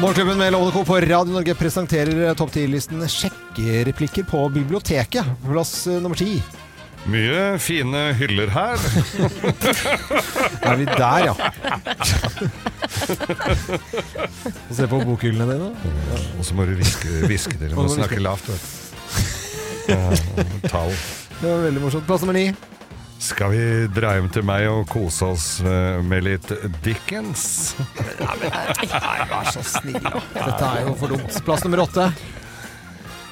Morgenklubben med Lovende Co. på Radio Norge presenterer eh, topp 10-listen sjekkereplikker på biblioteket. Plass eh, nummer ti. Mye fine hyller her. Er vi der, ja. Få se på bokhyllene dine. Og så må du hviske, hviske til dem Og og må snakke hviske. lavt. Vet. du. Ja, tall. Det var veldig morsomt. Plass nummer ni. Skal vi dra hjem til meg og kose oss eh, med litt Dickens? Vær så snill. Dette er jo for dumt. Plass nummer åtte.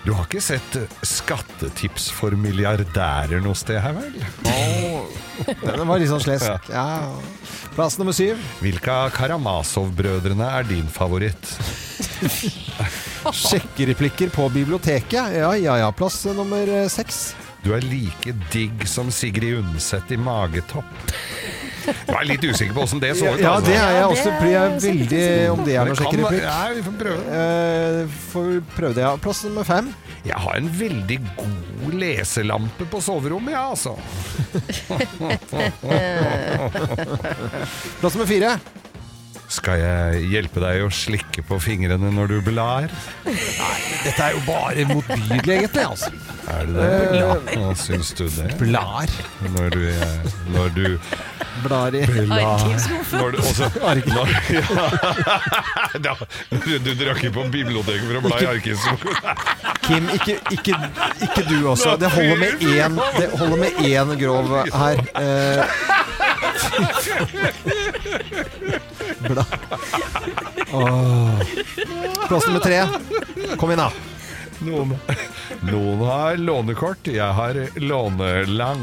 Du har ikke sett skattetips for milliardærer noe sted her, vel? Den var litt sånn slesk. Ja. Plass nummer syv. Hvilke av Karamazov-brødrene er din favoritt? Sjekkereplikker på biblioteket. Ja, ja, ja. Plass nummer eh, seks. Du er like digg som Sigrid Undset i magetopp. Jeg er litt usikker på åssen det så ut. altså. Ja, det er jeg Ja, det også. Blir jeg er sikkert veldig om det er noen sjekkereplikk. Ja, vi får prøve. Eh, Får vi prøve det, ja. Plass nummer fem. Jeg har en veldig god leselampe på soverommet, ja, altså. Plass nummer fire. Skal jeg hjelpe deg å slikke på fingrene når du blar? Dette er jo bare motbydelig, egentlig. altså. Er det det? Ja, hva syns du det? Blar. Når du, eh, når du Blar i Når du, også, Arkiv. når, ja, da, du, du drakk ikke på biblioteket for å bla i arkivsboka. Kim, ikke, ikke, ikke du også. Det holder med én, det holder med én grov her. Eh. Bla. Åh. Plass nummer tre. Kom inn, da. Noen, noen har lånekort, jeg har lånelang.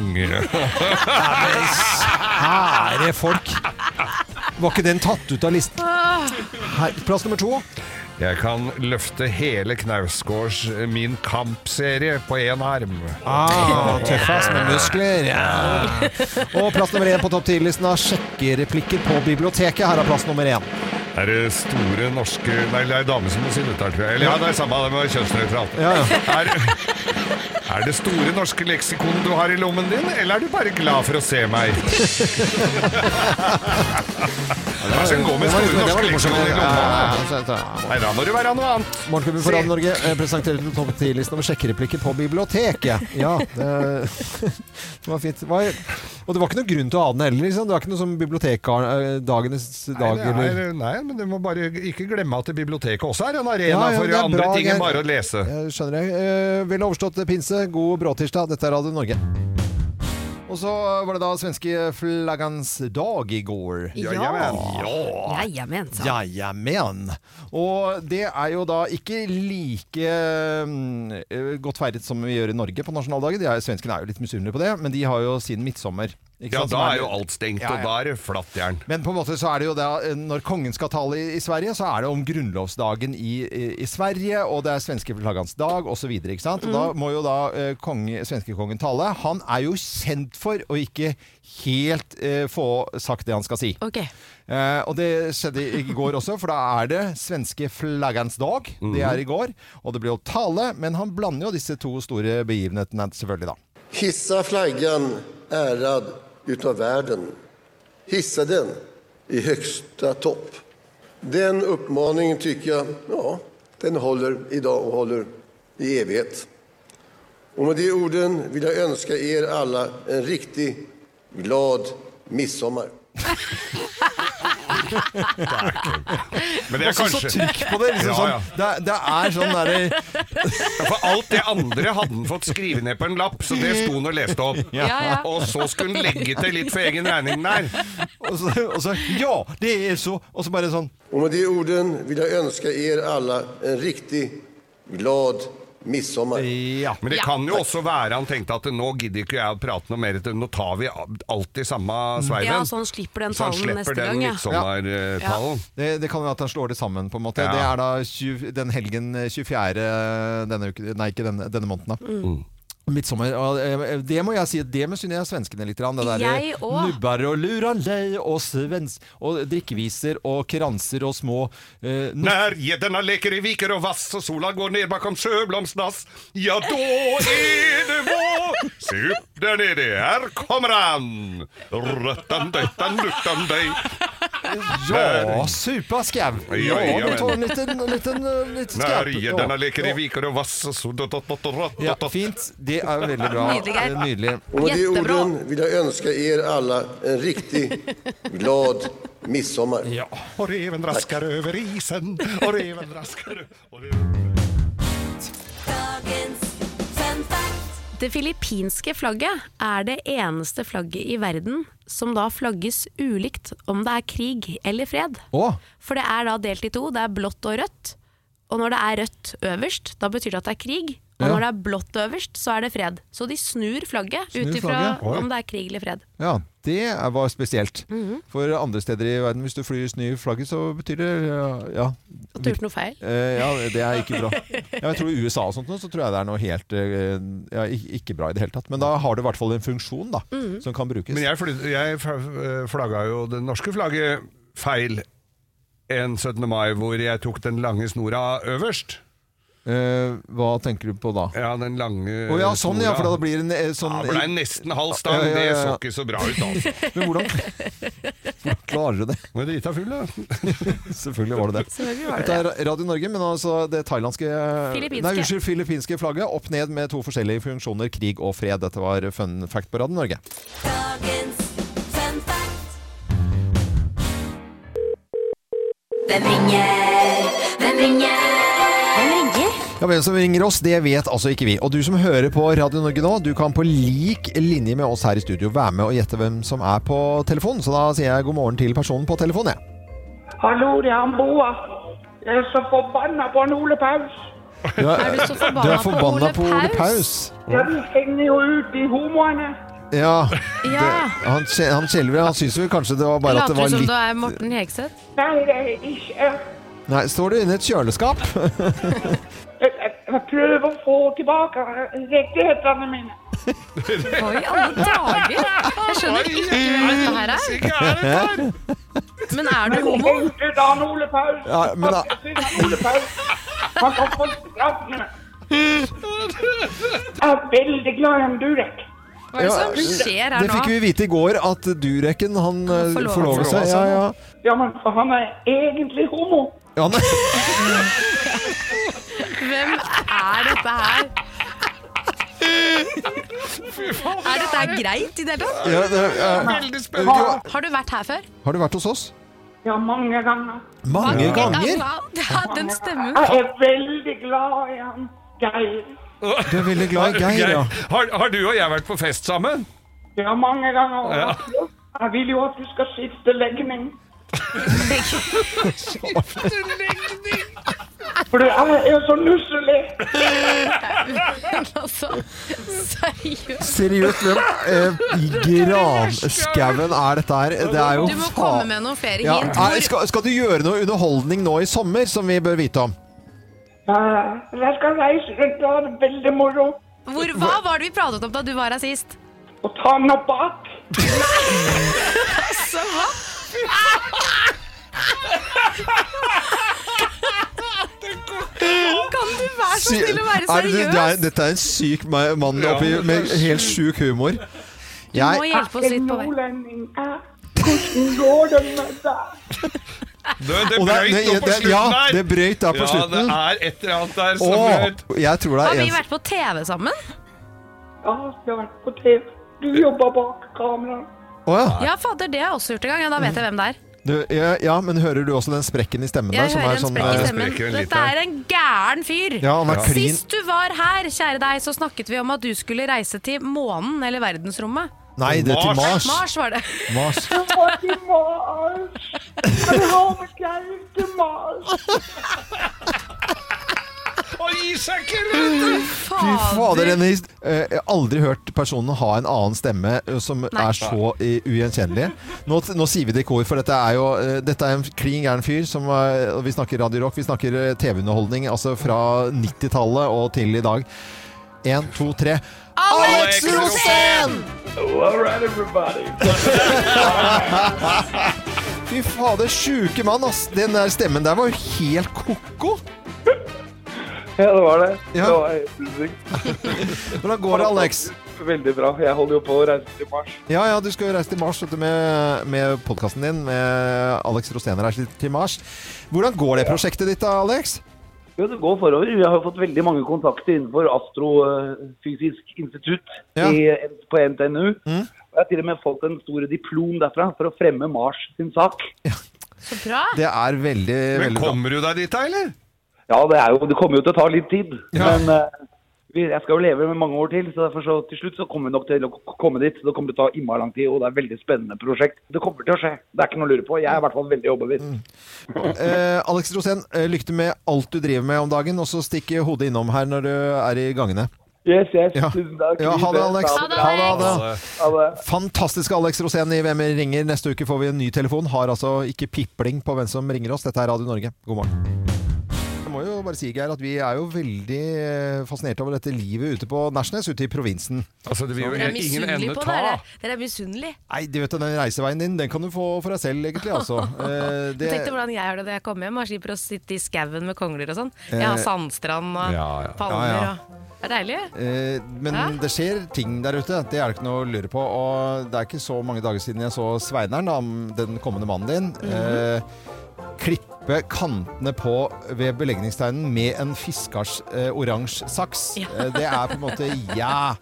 Kjære folk. Var ikke den tatt ut av listen? Her, plass nummer to. Jeg kan løfte hele Knausgårds eh, Min Kamp-serie på én arm. Ah, Tøffas med muskler. Ja. Og plass nummer én på topp 10-listen av sjekkereplikker på biblioteket. Her er plass nummer én. Er det store norske Nei, det er dame som må si dette, her, tror jeg. Eller ja, det er samme, det må være kjønnsnøytralt. Ja, ja. Er, er det store norske leksikon du har i lommen din, eller er du bare glad for å se meg? Hva skal gå med Det var litt- store det var norske litt morsomt. leksikon i lomma? Ja, ja, ja. Nei, da må du være noe annet. Morgenklubben for Radio Norge eh, presenterer den topp 10-listen over sjekkereplikker på biblioteket. Ja, det, det var fint. Det var, og det var ikke noen grunn til å ha den heller. Liksom. Det var ikke noe som bibliotekdagenes Nei, dag det er- eller nei, men du må bare ikke glemme at biblioteket også er en arena Ja, ja, for det er andre bra, ting enn Geir. bare å lese. Eh, Skjønner jeg. Eh, Vel overstått pinse. God bråtirsdag. Dette er Radio Norge. Og så var det da svenske flaggans dag i går. Ja. Ja, jeg mente det. Jajamän. Og det er jo da ikke like mm, eh, godt feiret som vi gjør i Norge på nasjonaldagen. De er, svenskene er jo litt misunnelige på det, men de har jo sin midtsommer. ikke Ja, sant, som da Sånn er jo alt stengt, Ja, ja. og da er det flatt jern. Men på en måte så er det jo da, eh, når kongen skal tale i, i Sverige, så er det om grunnlovsdagen i, i, i Sverige, og det er svenske flaggans dag osv. Da Mm. må jo da eh, konge, svenskekongen tale. Han er jo kjent for å ikke helt eh, få sagt det han skal si. Ok. Eh, og det skjedde i går også, for da er det svenske flaggans dag. Det Mhm. er i går, og det blir jo tale, men han blander jo disse to store begivenhetene, selvfølgelig, da. Hissa flaggan ärad utav världen. Hissa den i högsta topp. Den uppmaningen tycker jag, ja, den håller idag och håller i evighet. Och med de orden vill jag önska er alla en riktig glad midsommar. Men det er Også kanskje så trykk på det. Liksom, Ja, ja. Sånn, det, er- det er sånn derre For alt det andre hadde han fått skrive ned på en lapp, så det sto han og leste opp. Ja, ja. Og så skulle han legge til litt for egen regning der. og, så- og så Ja, det er så Og så bare sånn Och med de orden vill jag önska er alla en riktig glad midsommar. sånn, Ja. Men det Ja. kan jo også være han tenkte at nå gidder ikke jeg å prate noe mer, til- nå tar vi alltid samme sveiven. Ja, så han slipper den Så han talen slipper neste den sånn. gang, ja. midtsommertalen. Det, det kan være at han slår det sammen, på en måte. Ja. Det er da 20, den helgen eh, 24. denne uken Nei, ikke denne, denne måneden, da. Mm. Mm. Midtsommer. Og, eh, det må jeg si, at det misunner jeg svenskene litt. grann, Det derre Jeg òg. nubbar og luralei og svens... Og drikkeviser og kranser og små eh, no- Når gjedderna leker i viker og vass og sola går ned bakom sjøblomstdass, ja, da er det vår! Se opp der nede, her kommer han! Røttan, døttan, luttan, døy. Ja, supa skau! Ja, sånn, ja, vi tar en men. liten, en liten, eh, liten Når skau. gjedderna Ja. leker i viker og vass og sola Ja, fint. Det er veldig bra. Nydelig, Geir. Eh, Nydelig. Och med de Jättebra. orden vill jag önska er alla en riktig glad midsommar. Og reven rasker over isen, og reven rasker over Det filippinske flagget er det eneste flagget i verden som da flagges ulikt om det er krig eller fred. Å, For det er da delt i to. Det er blått og rødt. Og når det er rødt øverst, da betyr det at det er krig. Og Ja. når det er blått øverst, så er det fred. Så de snur flagget ut ifra flagget. om det er krig eller fred. ja, det er- var spesielt. For andre steder i verden, hvis du flyr snø i flagget, så betyr det ja, ja, Og du gjort noe feil. Eh, ja, det er ikke bra. Ja, jeg tror i USA og sånt nå, så tror jeg det er noe helt eh, ja, ik- ikke bra i det hele tatt. Men da har det i hvert fall en funksjon da, som kan brukes. Men jeg, fly- eh, jeg fa- flagga jo det norske flagget feil en 17. mai, hvor jeg tok den lange snora øverst. Eh, hva tenker du på da? Ja, den lange Å ja, sånn ja, for da blir det en eh, sånn Eh, Ja, det ble nesten halv stang. Ja, ja, ja, ja. Det så ikke så bra ut, altså. Men hvordan, hvordan klarer du det? Men drita full, da. Selvfølgelig var det det. Selvfølgelig var det Dette er Radio Norge, men altså det thailandske Filippinske. Nei, unnskyld, filippinske flagget. Opp ned med to forskjellige funksjoner, krig og fred. Dette var fun fact på Radio Norge. Hvem ringer? Hvem ringer? Hvem ringer? Ja, Hvem som ringer oss, det vet altså ikke vi. Og du som hører på Radio Norge nå, du kan på lik linje med oss her i studio være med og gjette hvem som er på telefonen. Så da sier jeg god morgen til personen på telefonen, jeg. Hallo, det er han Boa. Jeg er så forbanna på han Ole Paus. Du er, du så forbanna du er forbanna på Ole Paus? Ja, de henger jo ut, de homoene. Ja. Ja. Han, skje- han skjelver. Han syns vel kanskje det var bare at det Later var som du litt er Morten Hegseth. Nei, det er ikke Nei, står du inne i et kjøleskap? Jeg, jeg, jeg prøver å få tilbake rettighetene mine. Oi, alle dager! Jeg skjønner ikke hva dette her er. Men er du homo? Jeg støtter han Ole Paus. Ja, men da- Jeg støtter han Ole Paus. Han kan få straffene. Jeg er veldig glad i han Durek. Hva er det som skjer her Det nå? fikk vi vite i går, at Dureken, han eh, forlover forlover seg. seg. Ja, ja. Ja, men for han er egentlig homo. Ja, nei. Hvem er dette her? Er dette her greit i det hele tatt? ja, det, er- Veldig spennende. Har du vært her før? har du vært hos oss? Ja, mange ganger. Mange ganger! Ja, den stemmen. Jeg er veldig glad i han Geir. Du er veldig glad i Geir, ja. Har, har du og jeg vært på fest sammen? Ja, mange ganger. Jeg vil jo at du skal skifte legning. For du er jo så nusselig. Altså, seriøst. Seriøst, hvem eh, i granskauen er dette her? Det er jo Du må faen- komme med noen flere ja, hint. er, skal, skal du gjøre noe underholdning nå i sommer som vi bør vite om? Eh, Jeg skal reise rundt og ha det veldig moro. Hvor, hva var det vi pratet om da du var her sist? Og ta den opp bak. Kan du være så Sy- snill å Er være det- det er, seriøs? dette er en syk ma- mann oppi, Ja, det er med helt sjuk humor. Du må Jeg, hjelpe oss En litt på vei. nordlending er. Hvordan går det med deg? Det, det Og det er- brøyt det- nå på det- slutten ja, der. det brøyt da på Ja, slutten. det er et eller annet der som å, brøyt. jeg tror det Har er vi en vært på TV sammen? Ja, jeg har vært på TV. Du jobber bak kameraet. Å ja. Ja, fader, det har jeg også gjort en gang. Ja, da vet jeg hvem det er. Du, ja, ja, men hører du også den sprekken i stemmen der? Jeg som hører er en sånn, sprekk i eh, stemmen. spreker en Dette liten. er en gæren fyr. Ja, han er klin. Sist du var her, kjære deg, så snakket vi om at du skulle reise til månen eller verdensrommet. Nei, det er til Mars. Mars. Mars var det. Mars. Jeg må til Mars. Jeg håper jeg vil til Mars. Å, gi seg ikke, Lunde! Fy fader, denne hist- eh, Jeg har aldri hørt personen ha en annen stemme eh, som er så eh, ugjenkjennelig. Nå, nå sier vi det i kor, for dette er jo eh, Dette er en klin gæren fyr. Som, eh, og vi snakker Radio Rock, vi snakker eh, TV-underholdning. Altså fra 90-tallet og til i dag. Én, to, tre. Alex Rosén! Fy fader, sjuke mann, ass. Den der stemmen der var jo helt ko-ko. Ja, det var det. Ja. Det var helt sinnssykt. Hvordan går det, Alex? Veldig bra. Jeg holder jo på å reise til Mars. Ja, ja, du skal jo reise til Mars vet du, med, med podkasten din. Med Alex Rosén reiser til Mars. Hvordan går det prosjektet ditt da, Alex? Jo, det går forover. Vi har jo fått veldig mange kontakter innenfor Astrofysisk institutt Ja. i, på NTNU. Mm. Og jeg har til og med fått en stor diplom derfra for å fremme Mars sin sak. Så bra. Det er veldig, Men veldig bra. kommer du deg dit, da, eller? Ja, det, er jo, det kommer jo til å ta litt tid. Ja. Men eh, vi- jeg skal jo leve med mange år til, så derfor så til slutt så kommer vi nok til å k- komme dit. Så det kommer til å ta innmari lang tid, og det er et veldig spennende prosjekt. Det kommer til å skje. Det er ikke noe å lure på. Jeg er i hvert fall veldig overbevist. Mm. Eh, Alex Rosén, eh, lykke til med alt du driver med om dagen, og så stikk hodet innom her når du er i gangene. Yes, yes. Ja. Tusen takk. Ja, ha det, Alex. Ha det. Ha det, Ha Altså, det. Ha det. Fantastiske Alex Rosén i Hvem ringer. Neste uke får vi en ny telefon. Har altså ikke pipling på hvem som ringer oss. Dette er Radio Norge. God morgen. Jeg må jo bare si, Geir, at vi er jo veldig eh, fascinert over dette livet ute på Nesjnes, ute i provinsen. Altså, det vil Dere er jo ingen misunnelige ende på ta. dere. Dere er misunnelige. Nei, du vet jo, den reiseveien din, den kan du få for deg selv, egentlig, altså. Eh, Du det, tenkte hvordan jeg har det når jeg kommer hjem og slipper å sitte i skauen med kongler og sånn. Jeg har sandstrand og Ja, ja. palmer Eh, Ja, ja. og Det er deilig. eh, men Hæ? det skjer ting der ute, det er det ikke noe å lure på. Og det er ikke så mange dager siden jeg så Sveineren, da, den kommende mannen din, Mhm. eh, klippe kantene på ved belegningsteinen med en fiskars eh, oransje saks. Eh, det er på en måte ja.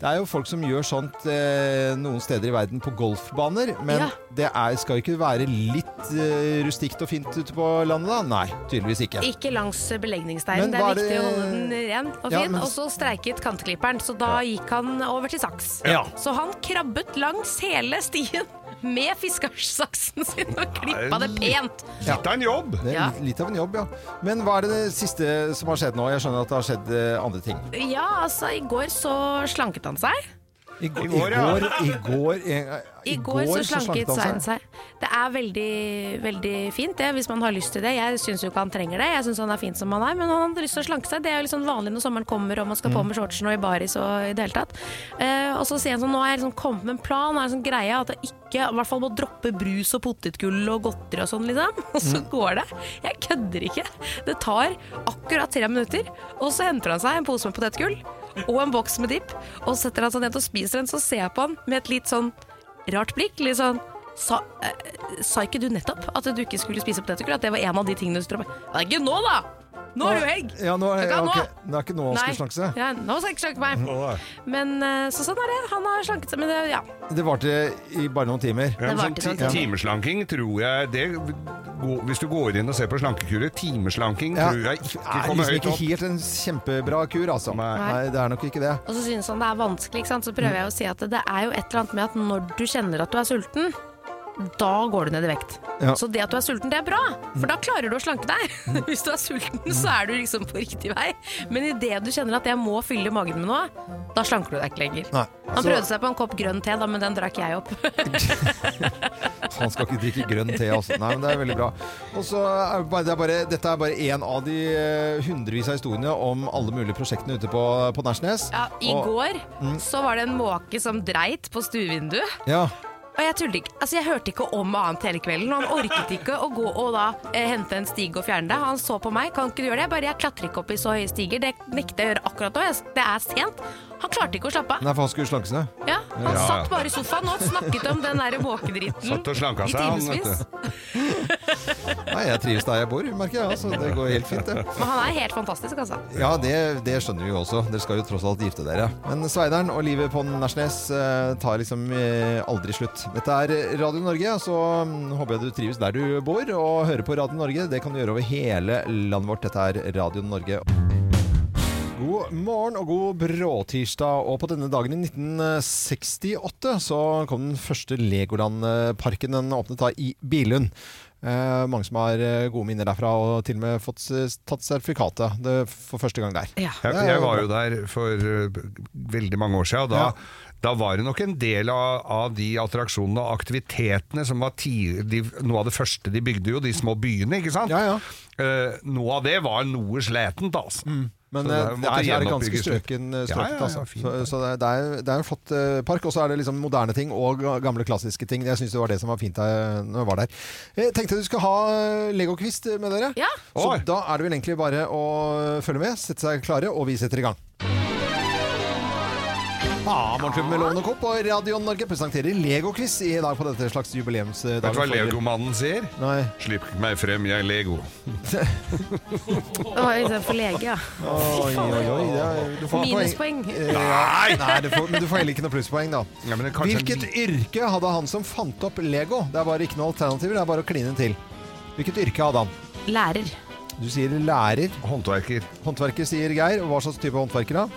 Det er jo folk som gjør sånt eh, noen steder i verden på golfbaner, men Ja. det er, skal jo ikke være litt eh, rustikt og fint ute på landet da? Nei, tydeligvis ikke. Ikke langs Men belegningsteinen. Det hva er er det- viktig å holde den ren og fin. Ja, men- Og så streiket kantklipperen, så da gikk han over til saks. Ja. Så han krabbet langs hele stien med fiskersaksen sin og klippa det pent. Litt av en jobb. Det er Ja. litt- litt av en jobb, ja. Men hva er det, det siste som har skjedd nå? Jeg skjønner at det har skjedd eh, andre ting. Ja, altså, i går så slanket han seg. I, går- I går, ja. i går, i går, eh, I går så slanket Svein seg. Det er veldig, veldig fint det, hvis man har lyst til det. Jeg syns jo ikke han trenger det. Jeg syns han er fin som han er, men han har lyst til å slanke seg. Det er jo liksom vanlig når sommeren kommer og man skal på med shortsen og i baris og i det hele tatt. Eh, og så sier han sånn, nå har jeg liksom kommet med en plan, har en sånn greie at jeg ikke, i hvert fall må droppe brus og potetgull og godteri og sånn, liksom. Og så går det. Jeg kødder ikke. Det tar akkurat tre minutter, og så henter han seg en pose med potetgull og en boks med dipp, og setter han seg ned og spiser den, så ser jeg på han med et litt sånn rart blikk. Litt sånn Sa, eh, sa ikke du nettopp at du ikke skulle spise potetgull? At det var en av de tingene du skulle Det er ikke nå, da! Nå er det jo egg! Ja, nå er, Klokka ja, nå. ok. det er ikke nå han skulle slanke seg. ja, nå skal jeg ikke slanke Å, meg. Men eh, så sånn er det. Han har slanket seg, men det, ja. Det varte i bare noen timer. Ja, men Det sånn varte ti- noen Timeslanking tror jeg det, gå- Hvis du går inn og ser på slankekurer, timeslanking Ja. tror jeg Det ikke er kommer liksom høyt ikke opp. helt en kjempebra kur, altså. Nei, Nei. det er nok ikke det. Og så synes han det er vanskelig, ikke sant? så prøver jeg å si at det er jo et eller annet med at når du kjenner at du er sulten, da går du ned i vekt. Ja. Så det at du er sulten, det er bra, for da klarer du å slanke deg. Hvis du er sulten, så er du liksom på riktig vei. Men idet du kjenner at jeg må fylle magen med noe, da slanker du deg ikke lenger. Nei. Han Så prøvde seg på en kopp grønn te, da, men den drakk jeg opp. han skal ikke drikke grønn te, altså. Nei, men det er veldig bra. Og så er det bare, det er bare, dette er bare én av de eh, hundrevis av historiene om alle mulige prosjektene ute på, på Nærsnes. Ja, I Og- går så var det en måke som dreit på stuevinduet. Ja. Og jeg tuller ikke. Altså, jeg hørte ikke om annet hele kvelden. og Han orket ikke å gå og da eh, hente en stige og fjerne det. Han så på meg. Kan ikke du gjøre det? Jeg bare, jeg klatrer ikke opp i så høye stiger. Det nekter jeg å gjøre akkurat nå. Jeg, det er sent. Han klarte ikke å slappe av. Nei, for han skulle slanke seg. Ja, han Ja, ja. satt bare i sofaen og snakket om den der måkedriten Satt og slanka i seg, han, vet timevis. Nei, jeg trives der jeg bor, merker jeg. Altså. Det går helt fint, det. Men han er helt fantastisk, altså. Ja, det, det skjønner vi jo også. Dere skal jo tross alt gifte dere. Men Sveideren og livet på Nærsnes eh, tar liksom eh, aldri slutt. Dette er Radio Norge, så mm, håper jeg du trives der du bor. Og hører på Radio Norge. Det kan du gjøre over hele landet vårt. Dette er Radio Norge. God morgen og god bråtirsdag. Og på denne dagen i 1968 så kom den første Legoland-parken. Den åpnet da i Billund. Eh, mange som har eh, gode minner derfra, og til og med fått s- tatt sertifikatet det, for første gang der. Ja. Jeg, jeg var jo der for uh, veldig mange år siden, og da, Ja. da var det nok en del av, av de attraksjonene og aktivitetene som var ti, de, noe av det første de bygde, jo de små byene, ikke sant? Ja, ja. Eh, noe av det var noe sletent, altså. Men Så eh, der det er, det måtte er ganske gjenoppbygges litt. strøken, eh, Ja, strøket, ja, ja, altså. fint, så ja. så det, er- det, er, det er en flott eh, park. Og så er det liksom moderne ting og ga- gamle, klassiske ting. Jeg syns det var det som var fint eh, når jeg var der. Jeg tenkte du skulle ha eh, legokvist med dere. Ja. Så Oi. da er det vel egentlig bare å følge med, sette seg klare, og vi setter i gang. Ah, Morgenklubben med Lovende Co. på Radio Norge presenterer Legoquiz i dag på dette slags jubileumsdag. Vet du hva Legomannen sier? Nei. Slipp meg frem, jeg er Lego. Det var jo istedenfor lege, ja. Oi, oi, oi. det er- du får Minuspoeng. Eh, Nei, nei du får, men du får heller ikke noe plusspoeng, da. Ja, men det er kanskje en Hvilket li- yrke hadde han som fant opp Lego? Det er bare ikke noe alternativer, det er bare å kline til. Hvilket yrke hadde han? Lærer. Du sier lærer. Håndverker. Håndverker, sier Geir. Og hva slags type håndverker, da?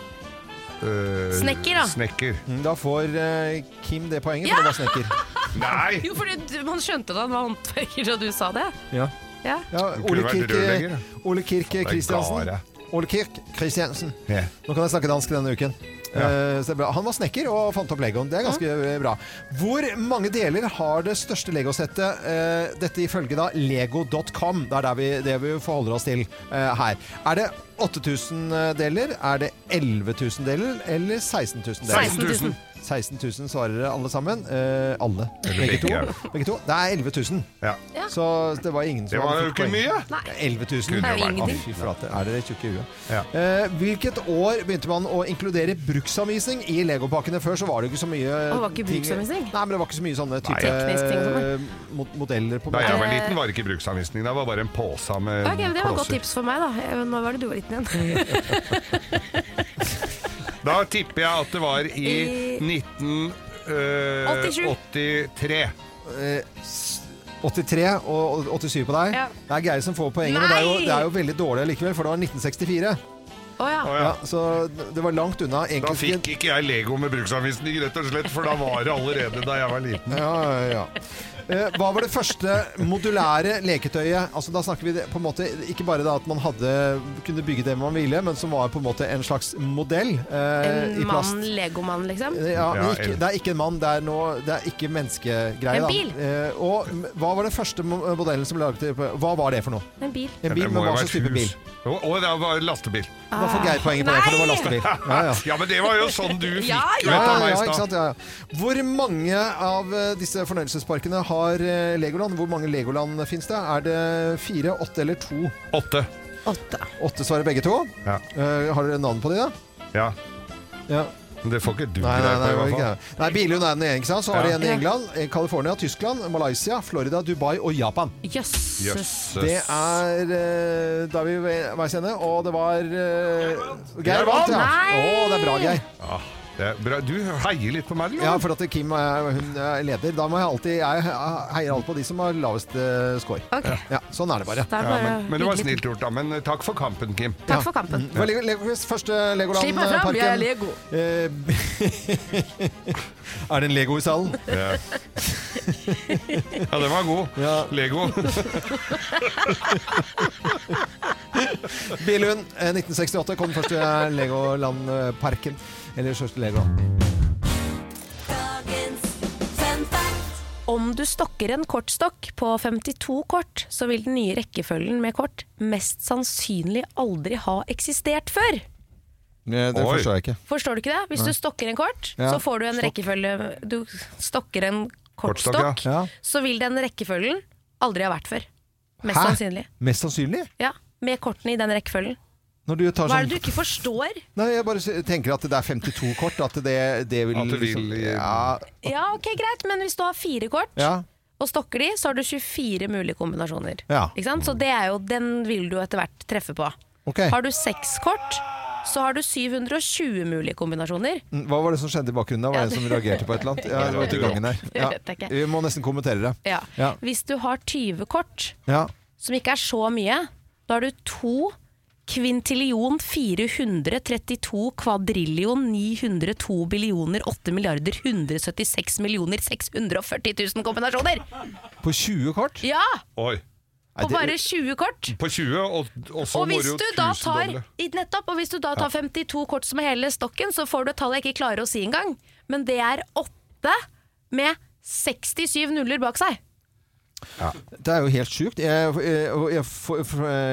eh, Snekker, da. Snekker. Mm, Da får eh, Kim det poenget, for det var snekker. Nei! Jo, fordi du- man skjønte da han var håndverker, og du sa det. Ja. Ja. Du kunne Ole vært Kirk, rørlegger, da. Ole Kirk er Kristiansen. gare. Ole Kirk Kristiansen. Ja. Nå kan jeg snakke dansk denne uken. Eh, så det er bra. Han var snekker og fant opp legoen. Det er ganske eh, bra. Hvor mange deler har det største legosettet? Uh, dette ifølge da lego.com. Det er der vi, det vi forholder oss til eh, her. Er det 8000 deler? Er det 11 000 deler? Eller 16 000 deler? 16 000. 16 000 svarer dere alle sammen. Eh, alle. Begge to. begge. Begge to. Det er 11 000. Ja. Ja. Så det var ingen som Det var hadde jo fått ikke poeng. mye. Nei. 11 000. Det er jo ingenting. Fy flate, er dere tjukke i huet? Ja. Eh, hvilket år begynte man å inkludere bruksanvisning i legopakkene? Før så var det jo ikke så mye det var ikke ting- bruksanvisning? Nei, men det var ikke så mye sånne type Teknisk ting som var. eh, mod- modeller på Da meg. jeg var liten, var det ikke bruksanvisning. Det var bare en pose med Eh, Ok, men Det var et godt klosser. tips for meg, da. Eh, Nå var det du var liten igjen. Da tipper jeg at det var i eh, I- 87. 1983. 83 og 87 på deg. Ja. Det er Geir som får poenget, men det er, jo, Nei! det er jo veldig dårlig likevel, for det var 1964. Å ja. Å ja. Ja, så det var langt unna. Da Egentlig fikk ikke jeg Lego med bruksanvisning, rett og slett, for da var det allerede da jeg var liten. Ja, ja, ja. Eh, Hva var det første modulære leketøyet? Altså, da snakker vi det- på en måte Ikke bare da at man hadde, kunne bygge det man ville, men som var på en måte en slags modell eh, i En plast. Eh, mann, legomann, liksom. Ja, men Ja, ikke, en- det er ikke en mann, det er, noe, det er ikke menneskegreie. En da. bil. Eh, og m- hva var den første mo- modellen som ble laget? Hva var det for noe? En bil. En bil, Det men må jo hva ha slags vært type bil? hus. Å, å, det var lastebil. Da får Geir poenget på det, for det var Ah, Nei! lastebil. Ja, ja. Ja, men det var jo sånn du fikk Ja, jo Ja, et av ja, meg ikke i stad. sant? Ja, ja. Hvor mange av eh, disse fornøyelsesparkene har eh, Legoland? Hvor mange Legoland finnes det? Er det fire, åtte eller to? Åtte. Åtte. Åtte svarer begge to. Ja. Eh, har dere navn på de, da? ja. Ja. Men det får ikke du Nei, nei, greie nei, på, nei, i hvert nei. fall. nei Bilund er den ene, ikke sant? Så har de Ja. en i Ja. England, eh, California, Tyskland, Malaysia, Florida, Dubai og Japan. Jøsses. Jøsses. Det er eh, Da er vi ved veis ende, og det var eh, Geir vant. ja. Nei! Å, det er bra, Geir. Ja, Ah, det er bra. Du heier litt på meg, du. Ja, for at Kim er, hun er leder. Da må jeg alltid Jeg heier alltid på de som har lavest eh, score. Ok. Ja, sånn er det bare. Da er det Ja, bare men, men det var litt- snilt gjort, da. Men eh, takk for kampen, Kim. Takk for kampen. Det var Lego- Legoquiz, første eh, Legoland-parken. Slipp meg fram, jeg er Lego. er det en Lego i salen? Ja, ja den var god. Ja. Lego. Billund, eh, 1968 kom den første Legoland-parken. Eller første Legoland. Dagens fun fact. Om du stokker en kortstokk på 52 kort, så vil den nye rekkefølgen med kort mest sannsynlig aldri ha eksistert før. Det Oi. forstår jeg ikke. Forstår du ikke det? Hvis du stokker en kort, Ja. så får du en Stokk. rekkefølge Du stokker en kortstokk, Kortstokk, ja. Ja. så vil den rekkefølgen aldri ha vært før. Mest Hæ? sannsynlig. Mest sannsynlig? Ja, Med kortene i den rekkefølgen. Når du tar Hva er sånn det du ikke forstår? Nei, jeg bare s- tenker at det er 52 kort. At det, det vil At det vil- liksom, Ja. Ja, ok, greit, men hvis du har fire kort, ja. og stokker de, så har du 24 mulige kombinasjoner. Ja. Ikke sant? Så det er jo, den vil du jo etter hvert treffe på. Ok. Har du seks kort, så har du 720 mulige kombinasjoner. Hva var det som skjedde i bakgrunnen? da? Var det en som reagerte på et eller annet? Ja, det var ute i gangen her. Ja. Det vet jeg ikke. Vi må nesten kommentere det. Ja. Ja. Hvis du har 20 kort, Ja. som ikke er så mye, da har du to kvintillion 432 kvadrillion 902 billioner 8 milliarder 176 millioner 640 000 kombinasjoner! På 20 kort? Ja! Oi. Nei, På det- bare 20 kort. På 20, og, og så Og må hvis du jo du da tar tusendoble. i- Nettopp, og hvis du da tar 52 kort som er hele stokken, så får du et tall jeg ikke klarer å si engang. Men det er åtte med 67 nuller bak seg. Det er jo helt sjukt. Jeg, jeg, jeg,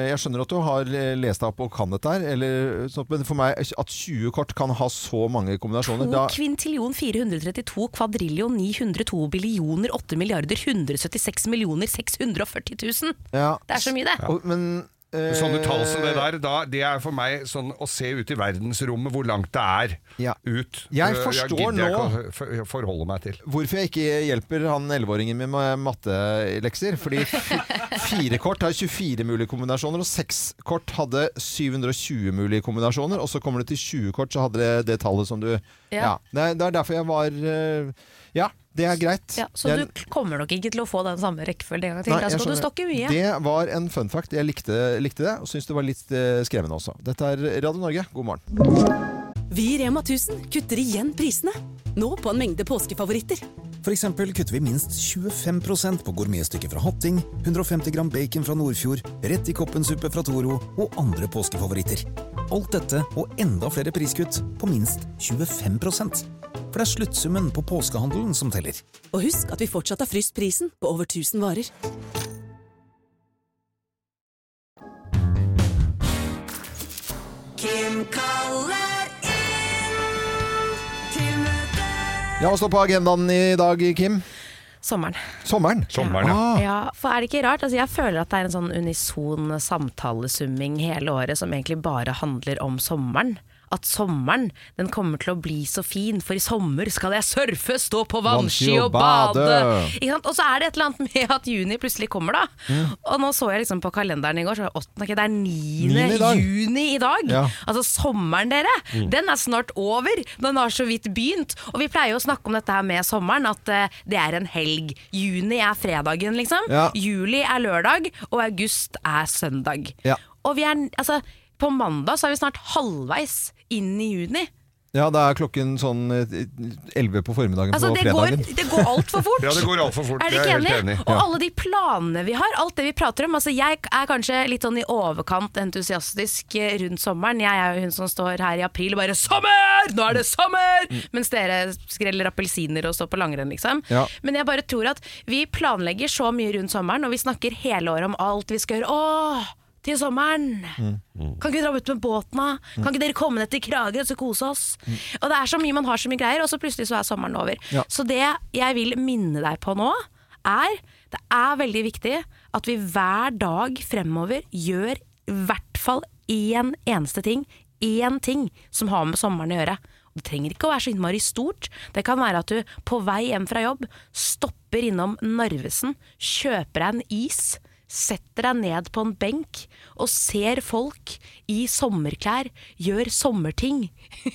jeg skjønner at du har lest deg opp og kan dette her, eller sånt, men for meg at 20 kort kan ha så mange kombinasjoner To da, kvintillion 432 kvadrillion 902 billioner 8 milliarder 176 millioner 640 000. ja. Det er så mye, det. Og- Men eh, Sånne tall som det der, da, det er for meg sånn å se ut i verdensrommet hvor langt det er Ja. ut. Jeg Øh, forstår gidder jeg ikke å for- forholde meg til. Hvorfor jeg ikke hjelper han 11-åringen min med mattelekser? Fordi fi- fire kort har 24 mulige kombinasjoner, og seks kort hadde 720 mulige kombinasjoner. Og så kommer det til 20 kort, så hadde det det tallet som du Ja. Det, er, det er derfor jeg var eh, Ja, det er greit. Ja, så Jeg- du kommer nok ikke til å få den samme rekkefølgen en gang til. Nei, da jeg skal du skjønner. stokke mye. Det var en fun fact. Jeg likte, likte det, og syns det var litt eh, skremmende også. Dette er Radio Norge, god morgen. Vi i Rema 1000 kutter igjen prisene. Nå på en mengde påskefavoritter. For eksempel kutter vi minst 25 på gourmetstykket fra Hatting, 150 gram bacon fra Nordfjord, rett i koppensuppe fra Toro og andre påskefavoritter. Alt dette og enda flere priskutt på minst 25 For det er sluttsummen på påskehandelen som teller. Og husk at vi fortsatt har fryst prisen på over 1000 varer. Kim kaller inn til møte. Ja, Hva står på agendaen i dag, Kim? Sommeren. Sommeren. Sommeren, ja. Ah, Ja, for er det ikke rart? Altså, jeg føler at det er en sånn unison samtalesumming hele året som egentlig bare handler om sommeren. At sommeren den kommer til å bli så fin, for i sommer skal jeg surfe, stå på vannski og bade. Ikke sant? Og så er det et eller annet med at juni plutselig kommer, da. Og nå så jeg liksom på kalenderen i går, så var det åttende, ok, det er 9. Niende i dag. juni i dag. Ja. Mm. Altså sommeren, dere, den er snart over. Den har så vidt begynt. Og vi pleier jo å snakke om dette her med sommeren, at eh, det er en helg. Juni er fredagen, liksom. Ja. Juli er lørdag, og august er søndag. Ja. Og vi er, altså, på mandag så er vi snart halvveis inn i juni. ja, da er klokken sånn eh, 11 på formiddagen Altså, på det går, fredagen. det går altfor fort. Ja, det går altfor fort. Er du Jeg ikke er enig? helt enig. Og alle de planene vi har, alt det vi prater om. Altså, jeg er kanskje litt sånn i overkant entusiastisk eh, rundt sommeren. Jeg er jo hun som står her i april og bare 'Sommer! Nå er det sommer!' Mens dere skreller appelsiner og står på langrenn, liksom. Mm. Ja. Men jeg bare tror at vi planlegger så mye rundt sommeren, og vi snakker hele året om alt vi skal gjøre. Åh, til sommeren! Mm. Kan ikke vi dra ut med båten, da? Kan ikke dere komme ned til Kragerø og så kose oss? Og det er så mye man har så mye greier, og så plutselig så er sommeren over. Mm. Ja. Så det jeg vil minne deg på nå, er det er veldig viktig at vi hver dag fremover gjør i hvert fall én eneste ting. Én ting som har med sommeren å gjøre. Og Det trenger ikke å være så innmari stort. Det kan være at du på vei hjem fra jobb stopper innom Narvesen, kjøper deg en is, setter deg ned på en benk og ser folk i sommerklær gjør sommerting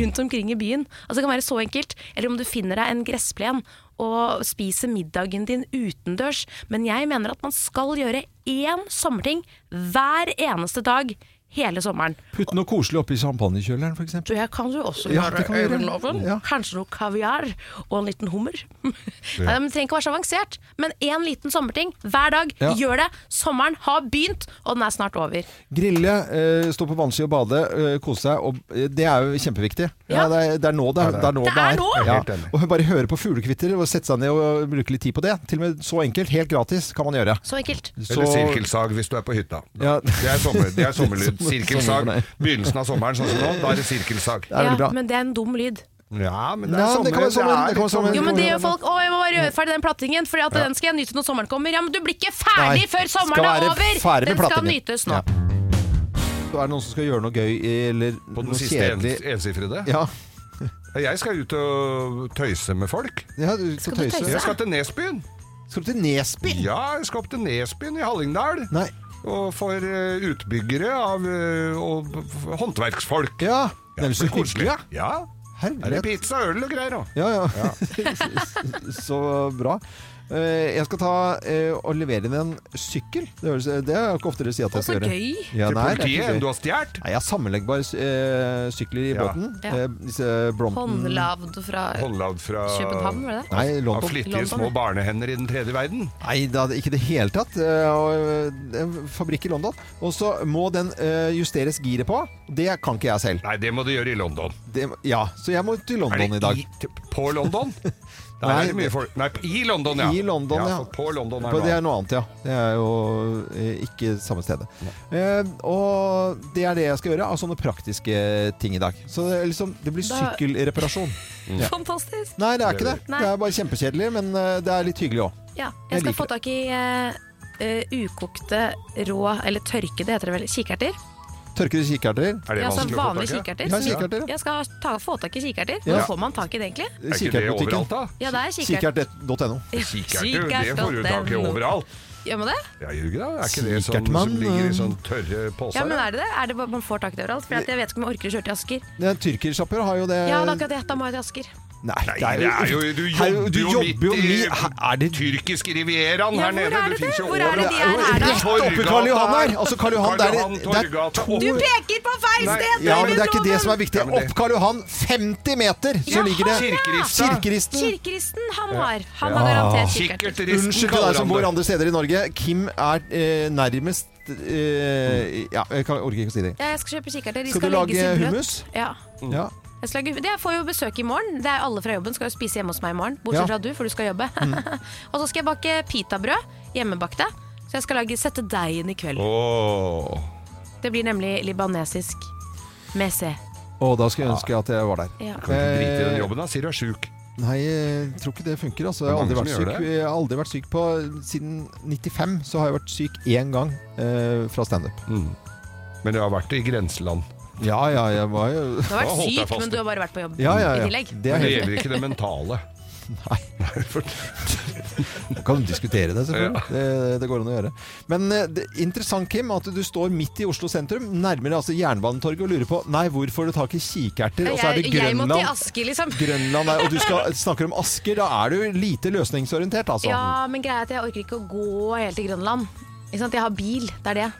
rundt omkring i byen. Altså Det kan være så enkelt. Eller om du finner deg en gressplen og spiser middagen din utendørs. Men jeg mener at man skal gjøre én sommerting hver eneste dag hele sommeren. Putt noe koselig oppi champagnekjøleren, f.eks. Du, jeg kan jo også Ja, gjøre det kan vi gjøre. øyeloven. Ja. Kanskje noe kaviar og en liten hummer. Nei, men Det trenger ikke være så avansert, men én liten sommerting hver dag. Ja. Gjør det! Sommeren har begynt, og den er snart over. Grille, eh, stå på vannski og bade, eh, kose seg. Og, eh, det er jo kjempeviktig. Ja. Ja. det, er, det er nå det er. Det er, nå Det er nå! Ja. Helt enig. Og bare høre på fuglekvitter og sette seg ned og bruke litt tid på det. Til og med så enkelt, helt gratis, kan man gjøre. Så enkelt. Eller sirkelsag hvis du er på hytta. Ja. Det er, sommer, det er sommerlyd. Sommer- Sirkelsag. sommer- Begynnelsen av sommeren sånn som nå, da er det sirkelsag. Det er veldig Ja, bra. men det er en dum lyd. Ja, men det Nei, er sånn det kan være sommer, det kan være sommer. Jo, men det gjør kommer folk. Å, jeg må bare gjøre ferdig den plattingen, for den skal jeg nyte når sommeren kommer. Ja, men du blir ikke ferdig Nei, før skal sommeren være er over! ferdig med Den skal plattingen. nytes nå. Ja. Så er det noen som skal gjøre noe gøy eller På den noe siste kjedelig. ens- ensifrede. Ja, Jeg skal ut og tøyse med folk. ja du skal du tøyse. tøyse? Jeg skal til Nesbyen. Skal du til Nesby? Ja, jeg skal opp til Nesbyen i Hallingdal. Nei. Og for eh, utbyggere av, eh, og f- håndverksfolk. Ja, det er jo så blir koselig. hyggelig, Ja. Herlighet. Er det pizza, øl og greier òg? Ja, ja. så bra. Eh, Jeg skal ta eh, og levere inn en sykkel. Det, høres, det er ikke ofte dere sier at jeg Å, så skal gjøre. gøy. Ja, Til nei, det er politiet ikke gøy. enn du har stjålet? Nei, jeg har sammenleggbare eh, sykler i Ja. båten. Ja. Eh, disse Brompton Håndlavd fra Håndlagd fra København, var det det? Nei, Av London. flittige London, små ja. barnehender i den tredje verden. Nei, da, ikke i det hele tatt. Eh, og, eh, en fabrikk i London. Og så må den eh, justeres giret på. Det kan ikke jeg selv. Nei, det må du gjøre i London. Det, ja, Så jeg må til Er London det i dag. i, t- på London? Der Nei, er det mye folk. Nei, i London, ja. I London, ja. for På London er For det det er noe annet, ja. Det er jo eh, ikke samme stedet. Eh, og det er det jeg skal gjøre av sånne praktiske ting i dag. Så det, er liksom, det blir Da- sykkelreparasjon. Ja. Fantastisk! Nei, det er ikke det. Nei. Det er bare kjempekjedelig, men eh, det er litt hyggelig òg. Ja, Jeg jeg skal liker få tak i eh, eh, ukokte, rå, eller tørkede heter det vel, kikerter. Tørkede kikerter. Er det Ja, altså vanskelig å få tak vanlige i? kikerter. Ja, som- kikerter, ja. Jeg skal ta, få tak i kikerter. Ja. Hvor får man tak i det egentlig? Er ikke det overalt, da? Ja, det er kikert. Kikert.no. Kikerter, det får du tak i Kikert.no. overalt. Gjør man det? Ja, gjør du ikke det? Er ikke det sånn Kikertmann, som ligger eh, i sånn tørre poser? Ja, men er det det? Er det bare man får tak i det overalt? For at jeg vet ikke om jeg orker å kjøre til Asker. Det er Tyrkersjapper har jo det Ja, det er akkurat det. Da må jeg til Asker. Nei, Nei, det er jo, du Her- jobber du jo jobber jo midt i mi- Her- Er det tyrkiske rivieraen Ja, her hvor nede. er det finnes det? jo Hvor er det overalt. de er her, da? Rett oppe i Karl Johan her! Altså, Karl Johan, det Karl er, Johan, det er Torggata, to- opp. Du peker på feil Nei. sted! Ja, David men det er ikke det Logan! som er viktig. Ja, men det- Opp Karl Johan, 50 meter, så Ja, ligger det Kirkerista. Kirkeristen. Kirkeristen han har. Han har garantert kikkert. Kikkerteristen Unnskyld til kaller deg han som bor det. andre steder i Norge. Kim er eh, nærmest eh, Ja, jeg kan, orker ikke å si det. Ja, jeg skal kjøpe kikkerter. De Skal skal, du lage legges i bløt. hummus? Ja. Ja. Jeg, skal, lage- det, jeg får jo besøk i morgen. Det er Alle fra jobben skal jo spise hjemme hos meg i morgen. Bortsett Ja. Mm. fra du, for du skal jobbe. og så skal jeg bake pitabrød. Hjemmebakte. Så jeg skal lage, sette deigen i kveld. Åh. Det blir nemlig libanesisk mese. Og da skulle jeg ønske at jeg var der. Ja. Kan du drite Eh. i den jobben, da? Sier du er sjuk. Nei, jeg tror ikke det funker. Altså. Jeg, har Det aldri er mange vært som syk. gjør det. jeg har aldri vært syk på Siden 95 så har jeg vært syk én gang eh, fra standup. Men du har vært i grenseland. Ja, ja, jeg var jo Du har Da vært holdt jeg syk, fast. men du har bare vært på jobb Ja, ja, i ja. tillegg. Det er Men det helt gjelder ikke det mentale. Nei. Man kan diskutere det, selvfølgelig. Det, det går an å gjøre. Men eh, det, interessant, Kim, at du står midt i Oslo sentrum, nærmere altså Jernbanetorget, og lurer på Nei, hvor får du tak i kikerter? Og så er Jeg, det jeg må til Grønland. Asker, liksom. Grønland er, og du skal, snakker om Asker, da er du lite løsningsorientert, altså. Ja, men greia er at jeg orker ikke å gå helt til Grønland. Ikke sant? Jeg har bil, det er det.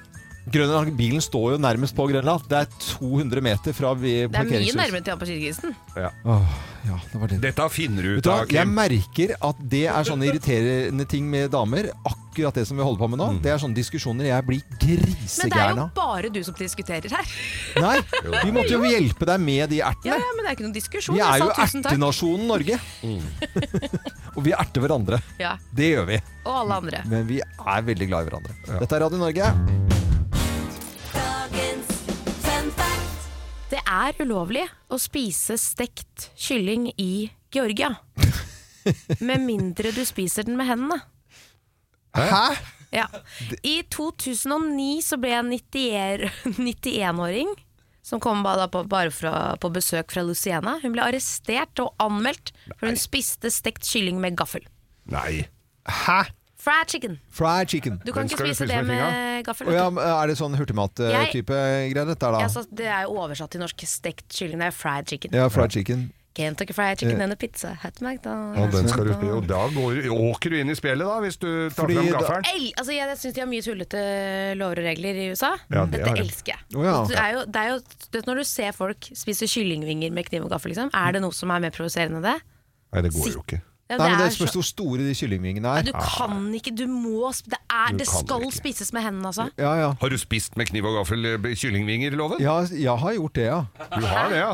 Grønland, bilen står jo nærmest på Grønland. Det er 200 meter fra vi- Det er mye parkeringshus. nærmere til han på Kirkegrisen. Åh, ja, det var det. Dette finner du Vet ut du hva, av, jeg Kim. merker at det er sånne irriterende ting med damer. Akkurat det som vi holder på med nå. Det er sånne diskusjoner jeg blir Men det er grisegæren jo av. bare du som diskuterer her. Nei, vi måtte jo hjelpe deg med de Ja, ertene. ja, men det er ikke noen diskusjon. Vi er Jeg jo sa tusen takk. ertenasjonen Norge. Og vi erter hverandre. Ja, Det gjør vi. og alle andre. Men vi er veldig glad i hverandre. Dette er Radio Norge. Dagens fun fact. Det er ulovlig å spise stekt kylling i Georgia. Med mindre du spiser den med hendene. Hæ? Ja. I 2009 så ble en 90 91-åring som kom bare, da på, bare fra, på besøk fra Luciana. Hun ble arrestert og anmeldt for hun spiste stekt kylling med gaffel. Nei. Hæ? Fried chicken. Fried chicken. Du kan Men ikke skal du spise spise det med med gaffel. Å ja, vet du. men er det sånn Jeg- hurtigmat-type greier dette er Ja, da? så det er jo oversatt til norsk stekt kylling. Det er fried chicken. Ja, fried chicken. Kentucky fried chicken and a pizza. Hat McDonald's. Og den skal du spille. Og da går, åker du inn i spillet, da, hvis du tar Fordi fram da- gaffelen. El, altså jeg jeg syns de har mye tullete lover og regler i USA. Ja, det Dette har de. elsker jeg. Å, ja. Og det er jo, det er jo, du vet, når du ser folk spise kyllingvinger med kniv og gaffel, liksom, er det noe som er mer provoserende enn det? Nei, det går jo ikke. Ja, Nei, men Det er spørs så- hvor store de kyllingvingene Nei, er. du kan ikke, du må sp- Det, er, Du det kan skal ikke. spises med hendene, altså. Ja, ja. Har du spist med kniv og gaffel eh, kyllingvinger i loven? Ja, jeg har gjort det, ja. Mm. Du har det, ja.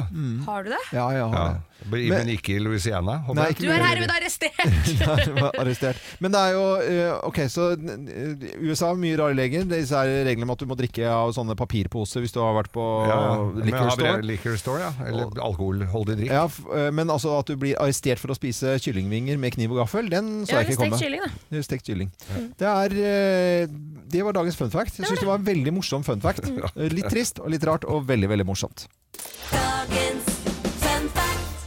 Har du det? Ja, jeg har ja. det. Men, men ikke i Louisiana? håper Nei, jeg. ikke Du er herved arrestert! Der var arrestert. Men det er jo eh, Ok, så eh, USA har mye rare leger. Disse er reglene om at du må drikke av sånne papirposer hvis du har vært på Ja, ja. Men liquor har vi det? store. Liquor store, ja. Eller alkoholholdig drikk. Ja, f- eh, men altså at du blir arrestert for å spise kyllingvinger med kniv og gaffel, den så Ja, jeg eller ikke komme. stekt kylling, da. Det er Stekt kylling. Det, er, eh, det var dagens fun fact. Jeg syns det var en veldig morsom fun fact. Eh, Litt trist og litt rart, og veldig, veldig morsomt. Dagens fun fact.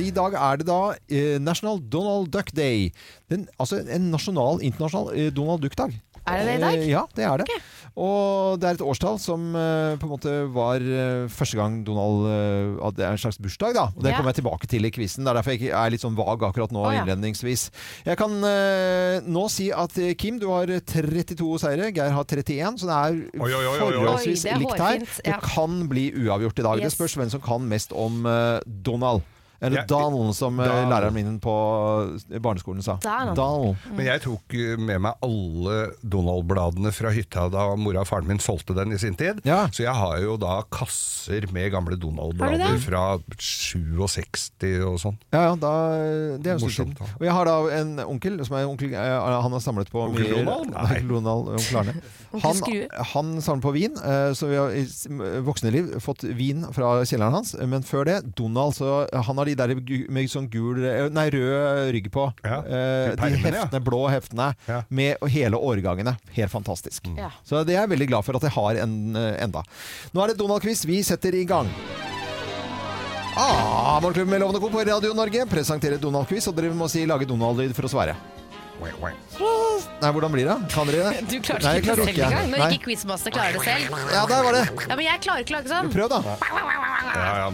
I dag er det da eh, National Donald Duck Day. Den, altså en nasjonal, internasjonal eh, Donald Duck-dag. Er det det i dag? Eh, Ja, det er det. Og det er et årstall som eh, på en måte var eh, første gang Donald eh, at Det er en slags bursdag, da. Og det Ja. kommer jeg tilbake til i quizen. Det er derfor jeg ikke er litt sånn vag akkurat nå Å, ja. innledningsvis. Jeg kan eh, nå si at eh, Kim, du har 32 seire. Geir har 31, så det er Oi, oi, oi, oi, oi. forholdsvis Oi, det er likt her. hårfint, Det ja. kan bli uavgjort i dag. Yes. Det spørs hvem som kan mest om eh, Donald. Eller Donald, som eh, Donald. læreren min på eh, barneskolen sa. Donald. Donald. Men jeg tok eh, med meg alle Donald-bladene fra hytta da mora og faren min solgte den i sin tid. Så jeg har jo da kasser med gamle Har du Donald-blader det? fra 67 og sånn. Ja, ja, da, det er jo Morsomt, morsomt. Og jeg har da en onkel som er onkel, eh, han har samlet på Onkel mye- Donald? Nei. Onkel Donald, onkel Arne. Onkel Han, Skrue. han samler på vin, eh, så vi har i s- voksne liv fått vin fra kjelleren hans. Men før det, Donald, så han har de der gu- med sånn gul, eh, nei, rød rygg på. Eh, De Permene, ja. heftene, blå heftene, med hele årgangene. Helt fantastisk. Ja. Så det er jeg veldig glad for at jeg har en, eh, enda. Nå er det Donald-quiz. Vi setter i gang. Ah, Morgenklubben med Lovende Co. på Radio Norge presenterer Donald-quiz, og dere må si lage Donald-lyd for å svare. Nei, hvordan blir det? Kan dere det? Du klarte Nei, jeg ikke det selv ikke. engang, når Nei. ikke Quizmaster klarer det selv. Ja, der var det. Ja, Men jeg klarer ikke å lage sånn. Prøv, da.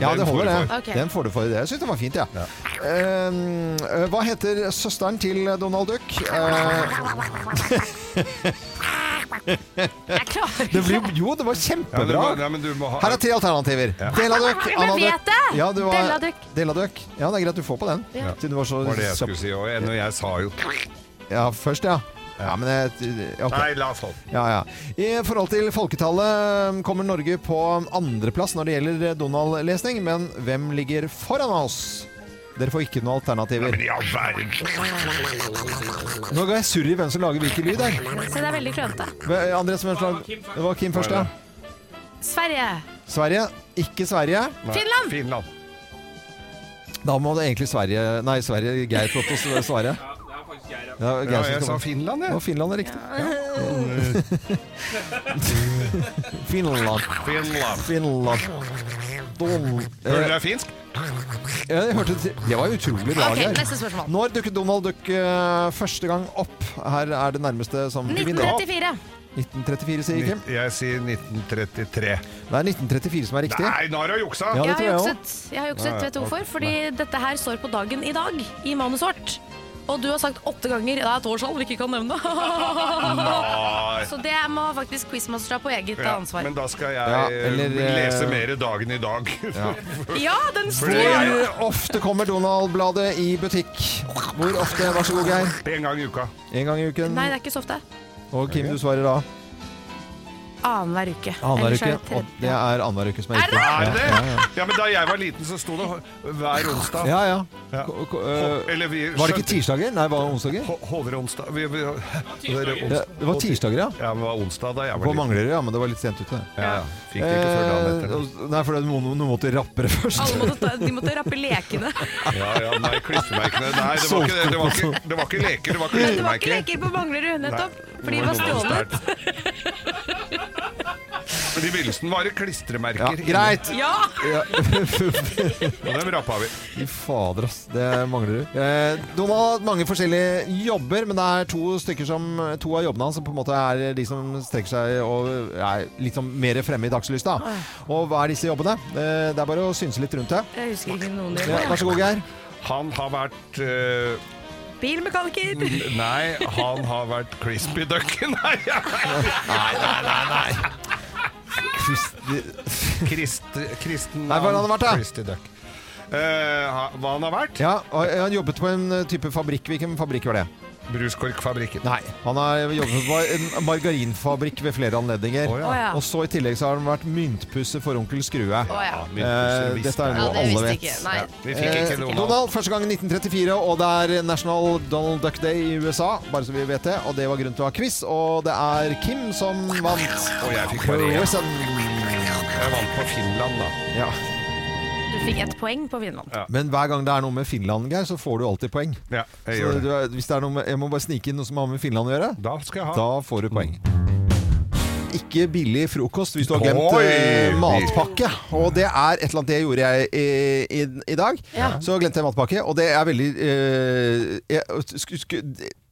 Ja, det holder, det. Ok. Den får du for. Det syns jeg var fint, jeg. Ja. Eh, hva heter søsteren til Donald Duck? Eh, jeg klarer det. Blir, jo, det var Ja, men du kjempebra. må- ja, men du må ha- Her er tre alternativer. Della Duck, Men jeg Anna vet Duck. det! Ja, du var- Della Duck. Della Duck. Ja, det er greit du får på den. Ja. Siden du var så Det var det jeg kjapp. skulle si òg. Når jeg sa jo Ja, først, ja. Ja, men jeg, ok. Nei, la oss holde. Ja, ja. I forhold til folketallet um, kommer Norge på andreplass når det gjelder eh, Donald-lesning, men hvem ligger foran oss? Dere får ikke noen alternativer. Nå ga jeg surr i hvem som lager hvilken lyd her. Så sånn. det er veldig klønete. Hva- eh, Andreas, hvem som lag- Det var Kim først, ja. Sverige. Sverige. Ikke Sverige. Finland! Da må det egentlig Sverige Nei, Sverige Geir få lov til å svare. Ja, Geir Ja, som jeg skal- sa Finland, jeg. Ja, Finland er riktig. Ja. Finland. Finland. Finland. Don... Hører du Eh, det er finsk? Ja, jeg hørte det. det var utrolig bra. Ok, Geir. neste spørsmål. Når dukket Donald Duck eh, første gang opp? Her er det nærmeste som vi vinner. 1934. 1934, sier Kim. Nitt- Jeg sier 1933. Det er 1934 som er riktig. Nei, nå har du juksa! Ja, det jeg, tror jeg har også. jukset. jeg har jukset. Ja, ja. Vet du hvorfor? Fordi dette her står på dagen i dag i manuset vårt. Og du har sagt åtte ganger det er et årstall vi ikke kan nevne. Nei. Så det må faktisk Quizmaster ta på eget Ja, ansvar. men da skal jeg Ja, eller, eh, lese eh, mer dagen i dag. Ja, den står Hvor ofte kommer Donald-bladet i butikk? Hvor ofte? Vær så god, Geir. En gang i uka. En gang i uken. Nei, det er ikke så ofte. Og Kim, du svarer da? Annenhver uke. Annenhver Ellers uke. er det tredje. Og det er annenhver uke som er riktig. Er det? Ja, ja, ja. Ja, men da jeg var liten, så sto det hver onsdag. Ja, ja. Ko- ko- eh, Ho- eller vi Var det ikke skjønte- tirsdager? Nei, var det onsdager? Ho- Hoveronsdag vi, vi, Ja, det var tirsdager, ja. Ja, men det var onsdag da jeg På var liten. Manglerud, ja, men det var litt sent ute. Ja, ja. Fikk det ikke før dagen etter. Eh, Nei, for det- noen, noen måtte rappere først. Alle måtte, ta- de måtte rappe lekene. Ja, ja, nei, klistremerkene Nei, det var, ikke, det, det, var ikke, det var ikke leker, det var Men det var ikke klistremerker. leker på Manglerud, nettopp. Nei, Fordi de det var noe stjålet. stjålet. Men i begynnelsen var det klistremerker. greit. Ja! Ja. Og dem rappa vi. Fy fader, ass. Det mangler du. Eh, Donald har hatt mange forskjellige jobber, men det er to stykker som To av jobbene hans som på en måte er de som strekker seg og er litt sånn mer fremme i dagslyset. da. Og hva er disse jobbene? Eh, det er bare å synse litt rundt det. Jeg husker ikke noen Ja, vær så god, Geir. Han har vært eh, Bilmekaniker. Mm. Nei, han har vært Crispy Duck. Nei, jeg vet ikke. Nei, nei, nei, nei. Krist, kristen Nei, hva har han vært, da? Crispy Duck. Eh, ha- hva han har vært? Ja, og Han jobbet på en type fabrikk. Hvilken fabrikk var det? Bruskorkfabrikken. Nei, han har jobbet på en margarinfabrikk ved flere anledninger. Å, ja. Å, ja. Og så i tillegg så har han vært myntpusser for onkel Skrue. ja. Eh, Myntpusser visste dette er jeg. noe Ja, det alle visste vet. ikke. Nei. Ja, vi fikk ikke Eh, Donald. Donald, første gang i 1934, og det er National Donald Duck Day i USA, bare så vi vet det. Og det var grunn til å ha quiz, og det er Kim som vant. Og jeg fikk bare én. Quizen. Jeg vant på Finland, da. Ja. Du fikk ett poeng på Vinland. Men hver gang det er noe med Finland, Geir, så får du alltid poeng. jeg så gjør det. du er- hvis det er noe med, jeg må bare snike inn noe som har med Finland å gjøre. Da skal jeg ha. Da får du poeng. ikke billig frokost hvis du har glemt Oi! eh, matpakke. Og det er et eller annet det gjorde jeg i, i, i dag. Ja. Så glemte jeg matpakke, og det er veldig eh, jeg, sku, sku,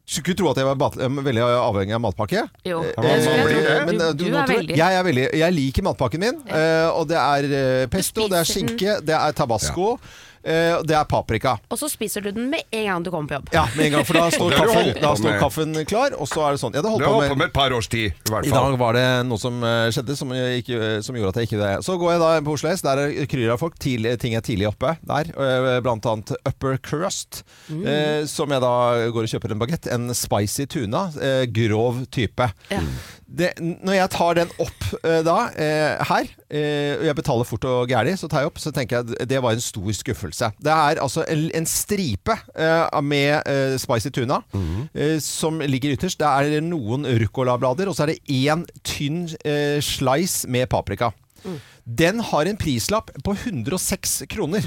skulle tro at jeg var bat, eh, veldig avhengig av matpakke. Jo. Eh, Ja, men man eh, blir det. men, eh, Du- du- du er nå tror jeg- veldig. Jeg er veldig. Jeg liker matpakken min. eh, og det er eh, pesto, det er spiser den. skinke, det er tabasco, eh, og det er paprika. Og så spiser du den med en gang du kommer på jobb. Ja, med en gang, for da står, Det har du kaffen, holdt på da står med. kaffen klar, og så er det sånn. Ja, det Det holdt har på holdt på med med et par års tid, i hvert i fall. dag var det noe som eh, skjedde som, jeg ikke, eh, som gjorde at jeg ikke det. Så går jeg da på Oslo S, der er kryr av folk. Til, ting er tidlig oppe der. eh, Blant annet Upper Crust, Mm. eh, som jeg da går og kjøper en bagett. En spicy tuna. Eh, grov type. Det, når jeg tar den opp eh, da, eh, her, eh, og jeg betaler fort og gæli, så tar jeg opp, så tenker jeg at det var en stor skuffelse. Det er altså en, en stripe eh, med eh, spicy tuna eh, som ligger ytterst. Det er noen ruccolablader, og så er det én tynn eh, slice med paprika. Den har en prislapp på 106 kroner.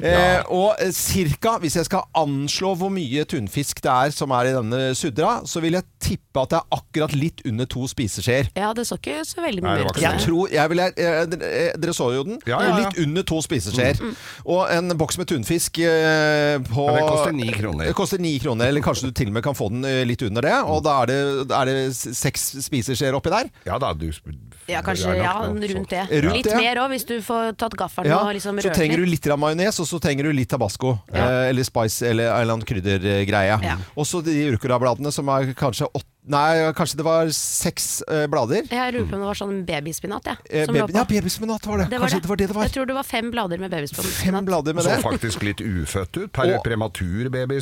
Eh, og eh, cirka, hvis jeg skal anslå hvor mye tunfisk det er som er i denne sudra, så vil jeg tippe at det er akkurat litt under to spiseskjeer. Ja, det så ikke så veldig mye ut. Jeg tror, jeg vil, eh, dere eh, dere så jo den. Ja, ja, ja. Litt under to spiseskjeer. Mm. Og en boks med tunfisk eh, på Ja, det koster ni kroner. Det koster ni kroner, eller kanskje du til og med kan få den eh, litt under det. Og da er det, er det seks spiseskjeer oppi der. Ja da, du Ja, kanskje Det er ja, nok noe rundt det. Rundt litt det. mer òg, hvis du får tatt gaffelen og liksom så rørt trenger du litt. litt grann majones, og så trenger du litt tabasco. Eh, eller spice, eller en eller annen kryddergreie. Ja. Og så de ruccolabladene som er kanskje åtte Nei, kanskje det var seks eh, blader. Jeg lurer på om det var sånn babyspinat, jeg. Eh, som lå baby, på. ja, babyspinat var det. Det var kanskje det. det var det det var. Jeg tror det var fem blader med babyspinat. Fem blader med så det. faktisk litt ufødt ut. Per Og- prematur baby.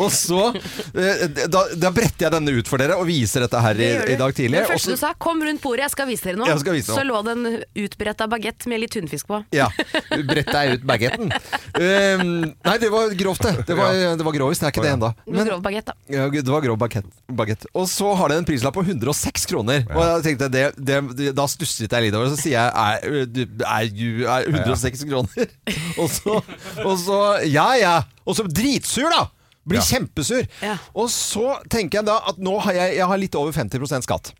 Og så eh, da, da bretter jeg denne ut for dere og viser dette her i, Det gjør du. i dag tidlig. Det og første så- du sa, kom rundt bordet, jeg skal vise dere noe. Jeg skal vise så noe. lå det en utbretta bagett med litt tunfisk på. Ja. Brett deg ut bagetten. Ehm, nei, det var grovt, det. Det var, det var grovis. Det er ikke det ennå. Med grov bagett, da. Ja, det var grov bakett, bakett. Og så har det en prislapp på 106 kroner. Og jeg tenkte, det, det, det, Da stusset jeg litt over det, så sier jeg er, du, er, du, er 106 kroner? Og så, og så Ja ja! Og så dritsur, da! Blir kjempesur. Og så tenker jeg da at nå har jeg, jeg har litt over 50 skatt.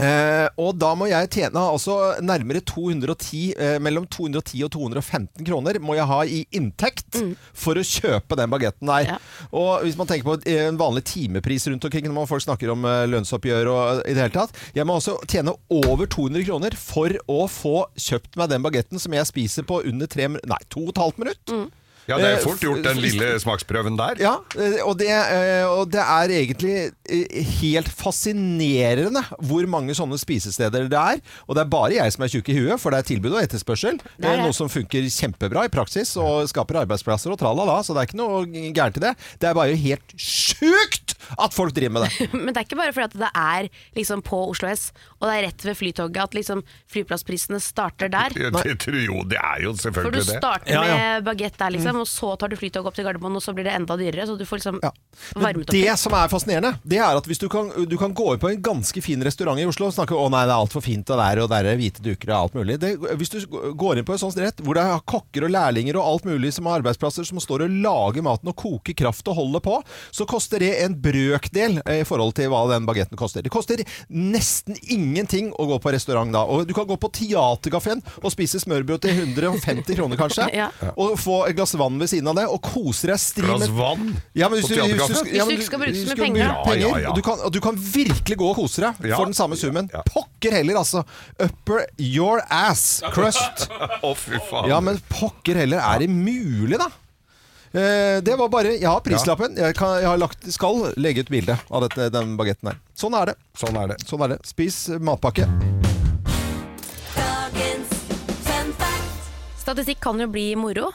Eh, og da må jeg tjene altså nærmere 210, eh, mellom 210 og 215 kroner må jeg ha i inntekt for å kjøpe den bagetten der. Og hvis man tenker på eh, en vanlig timepris rundt omkring når folk snakker om eh, lønnsoppgjør og i det hele tatt, jeg må også tjene over 200 kroner for å få kjøpt meg den bagetten som jeg spiser på under tre, min- nei, to og et halvt minutt. Ja, det er Eh, fort gjort, den lille smaksprøven der. Ja, eh, og det, eh, og det er egentlig eh, helt fascinerende hvor mange sånne spisesteder det er. Og det er bare jeg som er tjukk i huet, for det er tilbud og etterspørsel. Det er Eh, det. Noe som funker kjempebra i praksis og skaper arbeidsplasser og tralala, så det er ikke noe gærent i det. Det er bare helt sjukt at folk driver med det. Men det er ikke bare fordi at det er liksom på Oslo S, og det er rett ved Flytoget at liksom flyplassprisene starter der. Det, det, tror- jo, det er jo For du selvfølgelig det. Mm. starter med bagett der, liksom, og så tar du flytoget opp til Gardermoen, og så blir det enda dyrere. Så du får liksom varmet opp. Det som er fascinerende, det er at hvis du kan, du kan gå inn på en ganske fin restaurant i Oslo og snakke om å nei, det er altfor fint og der og der er hvite duker og alt mulig. Det, hvis du går inn på en sånn rett hvor det er kokker og lærlinger og alt mulig som har arbeidsplasser som står og lager maten og koker kraft og holder på, så koster det en brøkdel eh, i forhold til hva den bagetten koster. Det koster nesten ingenting å gå på restaurant da. Og du kan gå på teaterkafeen og spise smørbrød til 150 kroner kanskje, Ja. og få et glass vann ved siden av det, og kose deg stri med- Glass vann ja, men hvis, på du, hvis, teaterkaffe? du, Hvis ja, du men ikke skal bruke det hvis med du penger, da. bruke Ja, ja, ja. Du, kan, og du kan virkelig gå og kose deg Ja. for den samme summen. Pokker heller, altså. Upper your ass crust. Å, fy faen. Ja, men pokker heller. Er det mulig, da? Eh, det var bare Jeg har prislappen. Jeg, kan, jeg har lagt, skal legge ut bilde av dette, den bagetten her. Sånn er det. Sånn er det. Sånn er det. Spis matpakke. Dagens fun fact. Statistikk kan jo bli moro.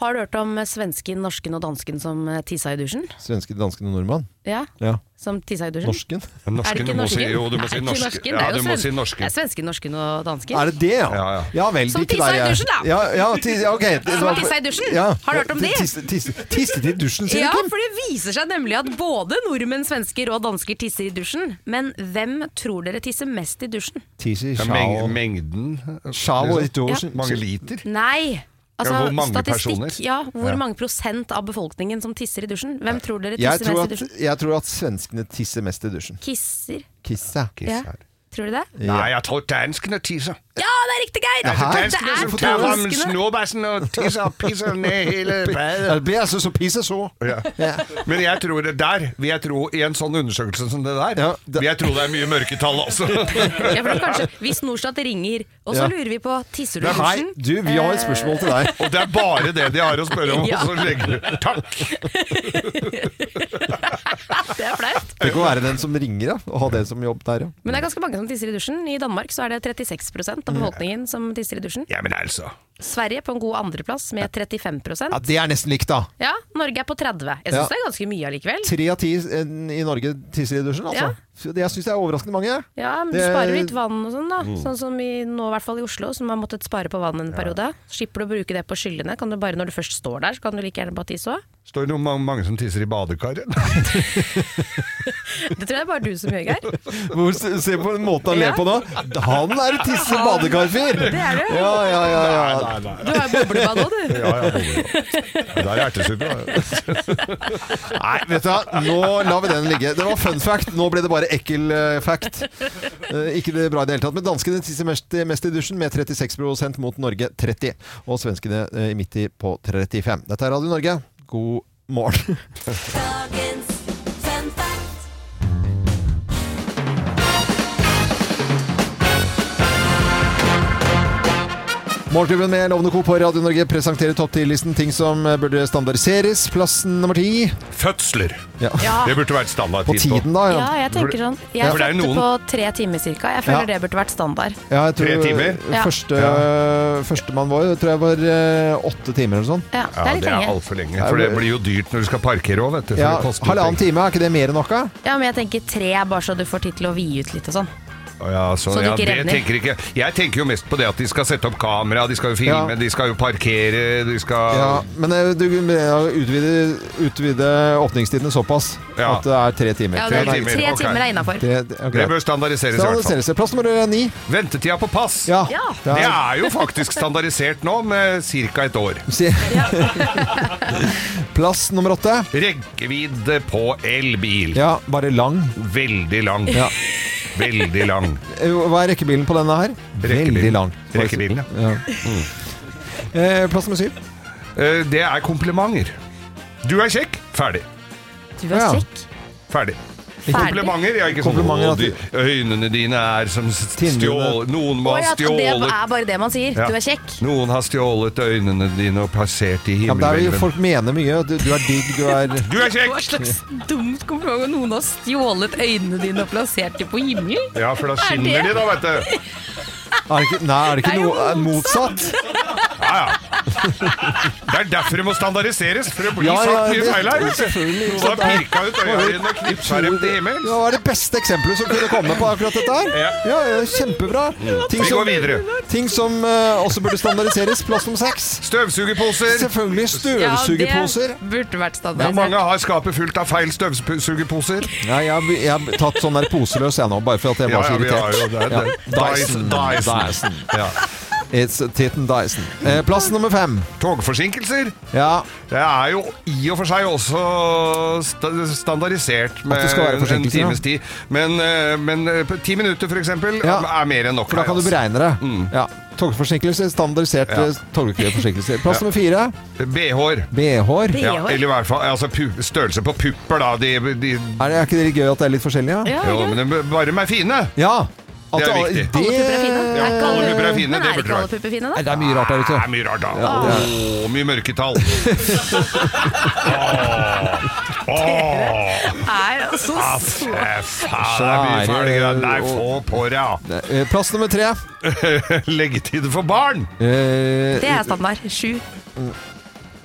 Har du hørt om svensken, norsken og dansken som eh, tissa i dusjen? Svenske, danske og nordmann. Ja, Ja. som tissa i dusjen? Norsken. Er det ikke du må si- norsken? jo, du må Nei, si ikke norsk. norsken, Ja, det er jo du må sven- si norsken. Det er svensken, norsken og dansken. Er det det, ja? Ja, vel, Som ikke der tissa i jeg- dusjen, da. Ja, ja, tis, ja, ok. Det Som var- tissa i dusjen. Ja. Har du hørt om det? Tisse- tisse- Tisset i dusjen, sier Ja, du, Kim? for det viser seg nemlig at både nordmenn, svensker og dansker tisser i dusjen. Men hvem tror dere tisser mest i dusjen? Tisi, Ja, sjao. meng- Mengden Sjao i liksom. dusjen. Mange liter Nei, Altså, Ja, hvor mange statistikk, personer? Ja, hvor Ja. mange prosent av befolkningen som tisser i dusjen? Hvem tror dere Jeg tisser tror, mest i at, dusjen? jeg tror at svenskene tisser mest i dusjen. Kisser. Kissa. Ja. Tror du det? Nei, jeg tror danskene tisser. Ja, det er riktig, Geir! Det er Det danskene er som tar fram danskene. snåbassen og tisser og pisser ned hele badet. Det blir altså så pisser så. Ja. Men jeg tror det der vil jeg tro, I en sånn undersøkelse som det der Vil jeg tro det er mye mørketall også. Ja, for da kanskje, hvis Norstat ringer, og så Ja. lurer vi på tisser du i Det er meg. dusjen? Eh. Du, vi har et spørsmål til deg. Og det er bare det de har å spørre om. Ja. Og så legger du Takk! Det er flaut. Tenk å være den som ringer, ja, og ha det som jobb der, ja. Men det er ganske mange som tisser i dusjen. I Danmark så er det 36 av befolkningen som tisser i dusjen. Ja, men altså. Sverige på en god andreplass med 35 ja det er nesten likt, da. Ja, Norge er på 30. Jeg syns Ja. det er ganske mye allikevel. Tre av ti eh, i Norge tisser i dusjen, altså. Ja. Så Det, jeg syns det er overraskende mange. Ja, men Du Det- sparer litt vann og sånn, da. Mm. Sånn som i, nå, i hvert fall i Oslo, som har måttet spare på vann en periode. Slipper du å bruke det på skyllene. Kan du bare, når du først står der, så kan du like gjerne bare tisse òg. Står det noe om mange som tisser i badekaret? Det tror jeg det er bare du som gjør, Geir. Hvor, se se på den måten han Ja. ler på nå. Han er en tisse-badekarfyr! Det er du. Ja, ja, ja, ja. Nei, nei, Du har jo boblebad òg, du. Ja, ja, boblebad. Der er ertesuppe. Nei, vet du hva, nå lar vi den ligge. Det var fun fact, nå ble det bare ekkel eh, fact. Eh, Ikke det bra i det hele tatt. Men danskene tisser mest, mest i dusjen, med 36 mot Norge 30. Og svenskene eh, midt i på 35. Dette er Radio Norge. God morgen. Dagens fun fact. Morgenklubben med Lovende Co på Radio Norge presenterer topp 10-listen ting som eh, burde standardiseres. Plassen nummer ti. Fødsler. Ja. Det burde vært På standardtid tiden, da. Ja, jeg tenker sånn. Jeg For det er fødte noen- på tre timer cirka. Jeg føler Ja. det burde vært standard. Ja, jeg tror, Tre timer? Ja. Første, Førstemann vår tror jeg var eh, åtte timer eller sånn. Ja, det er litt det er lenge. altfor lenge. For det blir jo dyrt når du skal parkere òg, vet du. for Ja, det koster jo halvannen time, er ikke det mer enn noe? Ja, men jeg tenker tre er bare så du får tid til å vie ut litt og sånn. Å Ja, så, Så det ja, ikke det revner. tenker ikke Jeg tenker jo mest på det at de skal sette opp kamera, de skal jo filme, de skal jo parkere, de skal Ja, men eh, du må utvide, utvide åpningstidene såpass Ja. at det er tre timer. Ja, det er, tre timer er innafor. Det, det, ok. Det bør standardiseres i hvert fall. Standardiseres. Plass nummer eh, ni. Ventetida på pass. Ja. Det er jo faktisk standardisert nå med ca. et år. Plass nummer åtte. Rekkevidde på elbil. Ja, bare lang. Veldig lang. Ja. Veldig lang. Eh, Hva er rekkebilen på denne her? Veldig lang. Rekkebilen, Mm. ja. Eh, plass nummer syv. Eh, Det er komplimenter. Du er kjekk. Ferdig. Du er Ja. kjekk. Ferdig. Ferdig. Komplimenter? Ja, ikke sånn Komplimenter, «Å, de, Øynene dine er som s- stjål... Noen må Å ja, ha at det stjålet er bare det man sier. Ja. Du er kjekk. Noen har stjålet øynene dine og plassert i Ja, men der vil himmelhvelven. folk mene mye. Du, du er digg, du er Du er kjekk! Hva slags dumt kompliment om noen har stjålet øynene dine og plassert dem på himmelen? Ja, for da Er skinner de, det- da, vet du. Er det ikke, nei, er det ikke Det er jo noe er motsatt? Ja, ja. Det er derfor det må standardiseres, for det blir Ja, ja, sagt mye det- feil her. vet du. selvfølgelig. Så da pirka ut øynene dine og knipsa dem til himmelen. Ja, Hva er det beste eksempelet som kunne komme på akkurat dette her? Ja. Mm. Ja, ja, Kjempebra. Vi går videre. Ting som eh, også burde standardiseres. Plass om seks. Støvsugerposer. Selvfølgelig støvsugerposer. burde vært Hvor mange standardisert. har skapet fullt av feil støvsugerposer? Ja, jeg, har- jeg har tatt sånn der poseløs jeg nå, bare for at jeg var Ja, så ja, vi har jo irritert. det. det. Ja, Dyson. Dyson. Dyson. Dyson. Ja. It's Titten Dyson. Eh, plass nummer fem. Togforsinkelser. Ja, Det er jo i og for seg også sta standardisert med At det skal være en forsinkelser, ja. times tid. Men, eh, men eh, på ti minutter, for eksempel, Ja. er mer enn nok. for da her, kan du altså. beregne det. Ja. Togforsinkelser. Standardiserte Ja. togforsinkelser. Plass Ja. nummer fire. BH-er. BH-er. Ja, eller i hvert fall altså, pu størrelse på pupper, da. De, de, Er, det- er ikke det litt gøy at det er litt forskjellig? Ja. jo, men de, bare de er fine. Ja. Det er At- viktig. Det, Alle pupper er fine. Ja, Er ikke alle pupper er fine, men det er burde ikke alle vært. pupper fine, Nei, da? det er mye rart der Det ute. er mye rart, da. Ja, det Åh, mye mørketall. Åh, åh, Er altså aff, eh, faen, det er mye fæle greier. Nei, få på deg. Det- eh, Plass nummer tre. Leggetid for barn! Eh, Det er standard. Sju. Mm.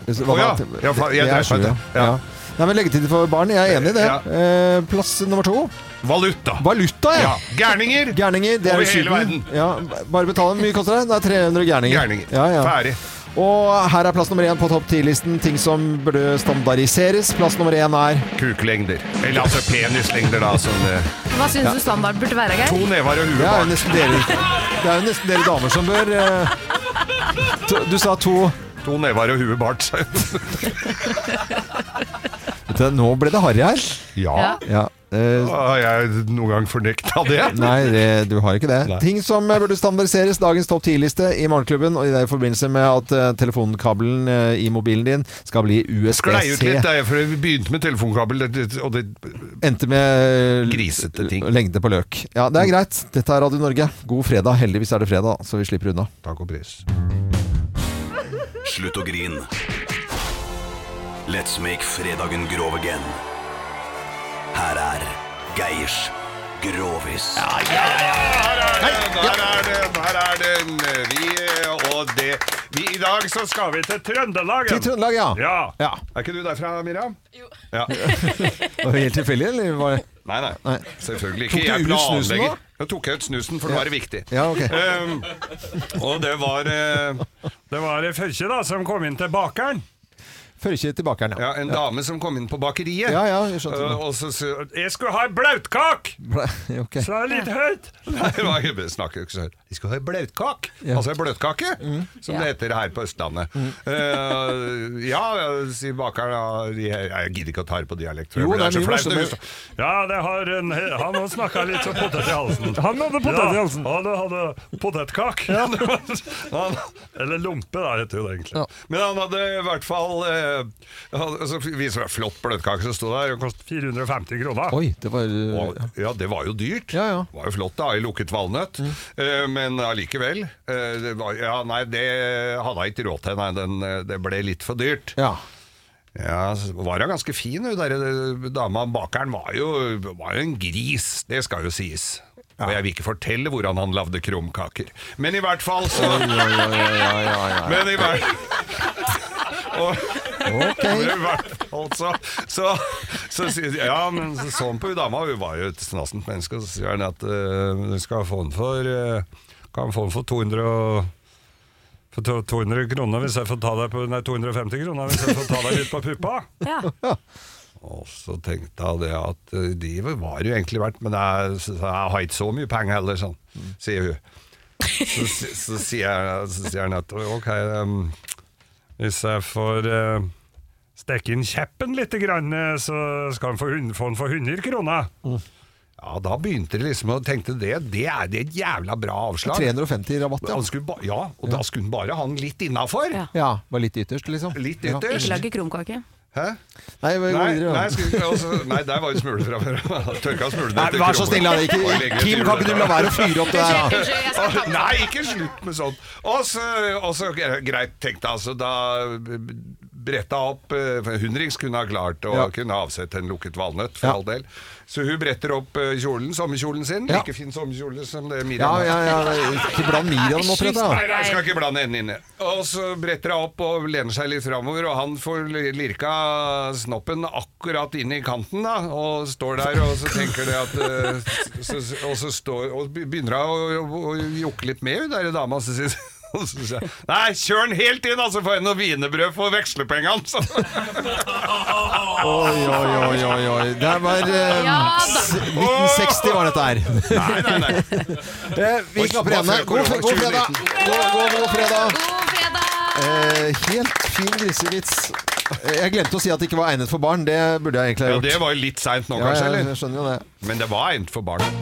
hva Å ja. var det? Ja, fa- jeg- Det er jeg sju, skjønte. ja. Ja. Ja. Nei, men Leggetid for barn, jeg er enig i det. Ja. Eh, Plass nummer to. Valuta. Valuta, ja. Ja. Gærninger. Gærninger. Det er Over i hele Syden. verden. Ja, bare betale. Hvor mye koster det? Det er 300 gærninger. Gærninger. Ja, ja. Ferdig. Og her er plass nummer én på topp ti-listen. Ting som burde standardiseres. Plass nummer én er Kuklengder. Eller altså penislengder, da. Som, eh, Hva syns du standard burde være, Geir? to nevar og Det huet er jo bak. nesten dere, det er jo nesten dere damer som bør eh, to, Du sa to To nevar og huet bart. sa jeg. Vet du, nå ble det harry her. Ja. ja. eh, Har jeg noen gang fornekta det? Nei, det, du har ikke det. Ting som eh, burde standardiseres. Dagens topp 10-liste i Morgenklubben. Og i det i forbindelse med at eh, telefonkabelen eh, i mobilen din skal bli Sklei ut USB-C. litt, eh. da jeg, for vi begynte med telefonkabel, det- det- og det Endte med eh, Grisete ting. lengde på løk. Ja, Det er greit. Dette er Radio Norge. God fredag. Heldigvis er det fredag, så vi slipper unna. Takk og pris. Slutt å grin. Let's make fredagen grov again. Her er Geirs Grovis. Der er den, her er den. Vi, eh, og det vi, I dag så skal vi til Trøndelag. Til Trøndelag, ja. ja. Ja. Er ikke du derfra, Miriam? Jo. Ja. Var det helt tilfeldig, eller? Var det? Nei, nei. Selvfølgelig Tok du ikke. Jeg ut snusen planlegger. nå? Jeg tok ut snusen, for nå Ja. er det viktig. Ja, ok. Ehm, og det var eh, Det var Førkje da, som kom inn til bakeren. Førkje til bakeren, ja, en dame som kom inn på bakeriet. Ja, ja, jeg skjønte det. Eh, og så, så, Jeg skulle ha en blautkak! Ok. Sa jeg litt høyt? Nei, det var- jeg snakker jo ikke så høyt. De skulle ha en blautkak, altså en bløtkake, Mm. som det heter her på Østlandet. Eh, ja, sier bakeren. ja, Jeg, jeg gidder ikke å ta det på dialekt. for Jo, jeg blir- det er mye så flaut, det- Ja, det har en, han har snakka litt som potet i halsen. Han hadde potet i halsen. Ja, han hadde potetkak. Han, eller lompe, da, heter jo det egentlig. Men han hadde i hvert fall eh, han- altså, viser meg flott bløtkake som sto der. Den kostet 450 kroner. Oi, det var og, Ja, det var jo dyrt. Det var jo flott, da, i lukket valnøtt. Eh, men allikevel. eh, det var, ja, nei, det hadde jeg ikke råd til. Nei, den, eh, det ble litt for dyrt. Ja. så var hun ganske fin, hun der eh, dama. Bakeren var jo, var jo en gris, det skal jo sies. Og jeg vil ikke fortelle hvordan han lagde krumkaker. Men i hvert fall så Men i hvert og, Men i hvert fall så, så, så, sier de, Ja, men så så han på hun dama, hun var jo et snassent menneske, og så sier han at eh, du skal få den for eh, Kan få den for 200 og For to- 200 kroner hvis jeg får ta deg på Nei, 250 kroner hvis jeg får ta deg litt på puppa. Og så tenkte jeg det at eh, de var jo egentlig verdt, men jeg, så- så jeg har ikke så mye penger heller, sånn, sier hun. Så, si- så, sier, jeg- så sier han at ok, em, Hvis jeg får eh, stekke inn kjeppen litt, grann, eh, så skal han få, hun- få den for 100 kroner. Mm. ja, da begynte de liksom å tenke det, det er det er et jævla bra avslag. 350 rabatt, Han skulle ba, ja, og da skulle han bare ha den litt innafor. Ja. Ja, var litt ytterst, liksom. Litt Ja. ytterst. Ikke lage krumkake. Hæ? Nei, vi går Nei, videre. nei, skulle ikke- altså, nei, der var jo smule fra før. Tørka smulene Nei, etter vær så kroken. snill, da. Ikke- Og legge Kim, til kan ikke du la være å fyre opp det der, da? Unnskyld, jeg skal ta det. Nei, ikke slutt med sånt. Og så- Og så greit, tenkte jeg altså, da bretta opp eh, for Hundrings kunne ha klart å Ja. kunne avsette en lukket valnøtt, for Ja. all del. Så hun bretter opp eh, kjolen, sommerkjolen sin. Like fin sommerkjole som det Miriam Ja, har. ja, ja. Ikke bland Miriam opp i dette. Nei, nei, da. jeg skal ikke blande enden inne. Og så bretter jeg opp og lener seg litt framover, og han får lirka snoppen akkurat inn i kanten, da, og står der, og så tenker det at eh, så, så- Og så står, og begynner jeg å, å, å jokke litt med hun derre dama, så sier og så sier jeg Nei, kjør den helt inn, altså, får jeg noe wienerbrød for vekslepengene! Så. Oi, oi, oi, oi, oi. Det var eh, Ja da. s- 1960 var dette her. Nei, nei, nei. Eh, Vi Oi, knapper hva igjen. for- God, korona god fredag! 2019. God, god, god fredag! Eh, helt fin grisevits. Eh, Jeg glemte å si at det ikke var egnet for barn. Det burde jeg egentlig ha Ja, gjort. det var jo litt seint nå, Ja, kanskje, jeg- eller? jeg skjønner jo det. Men det var egnet for barn.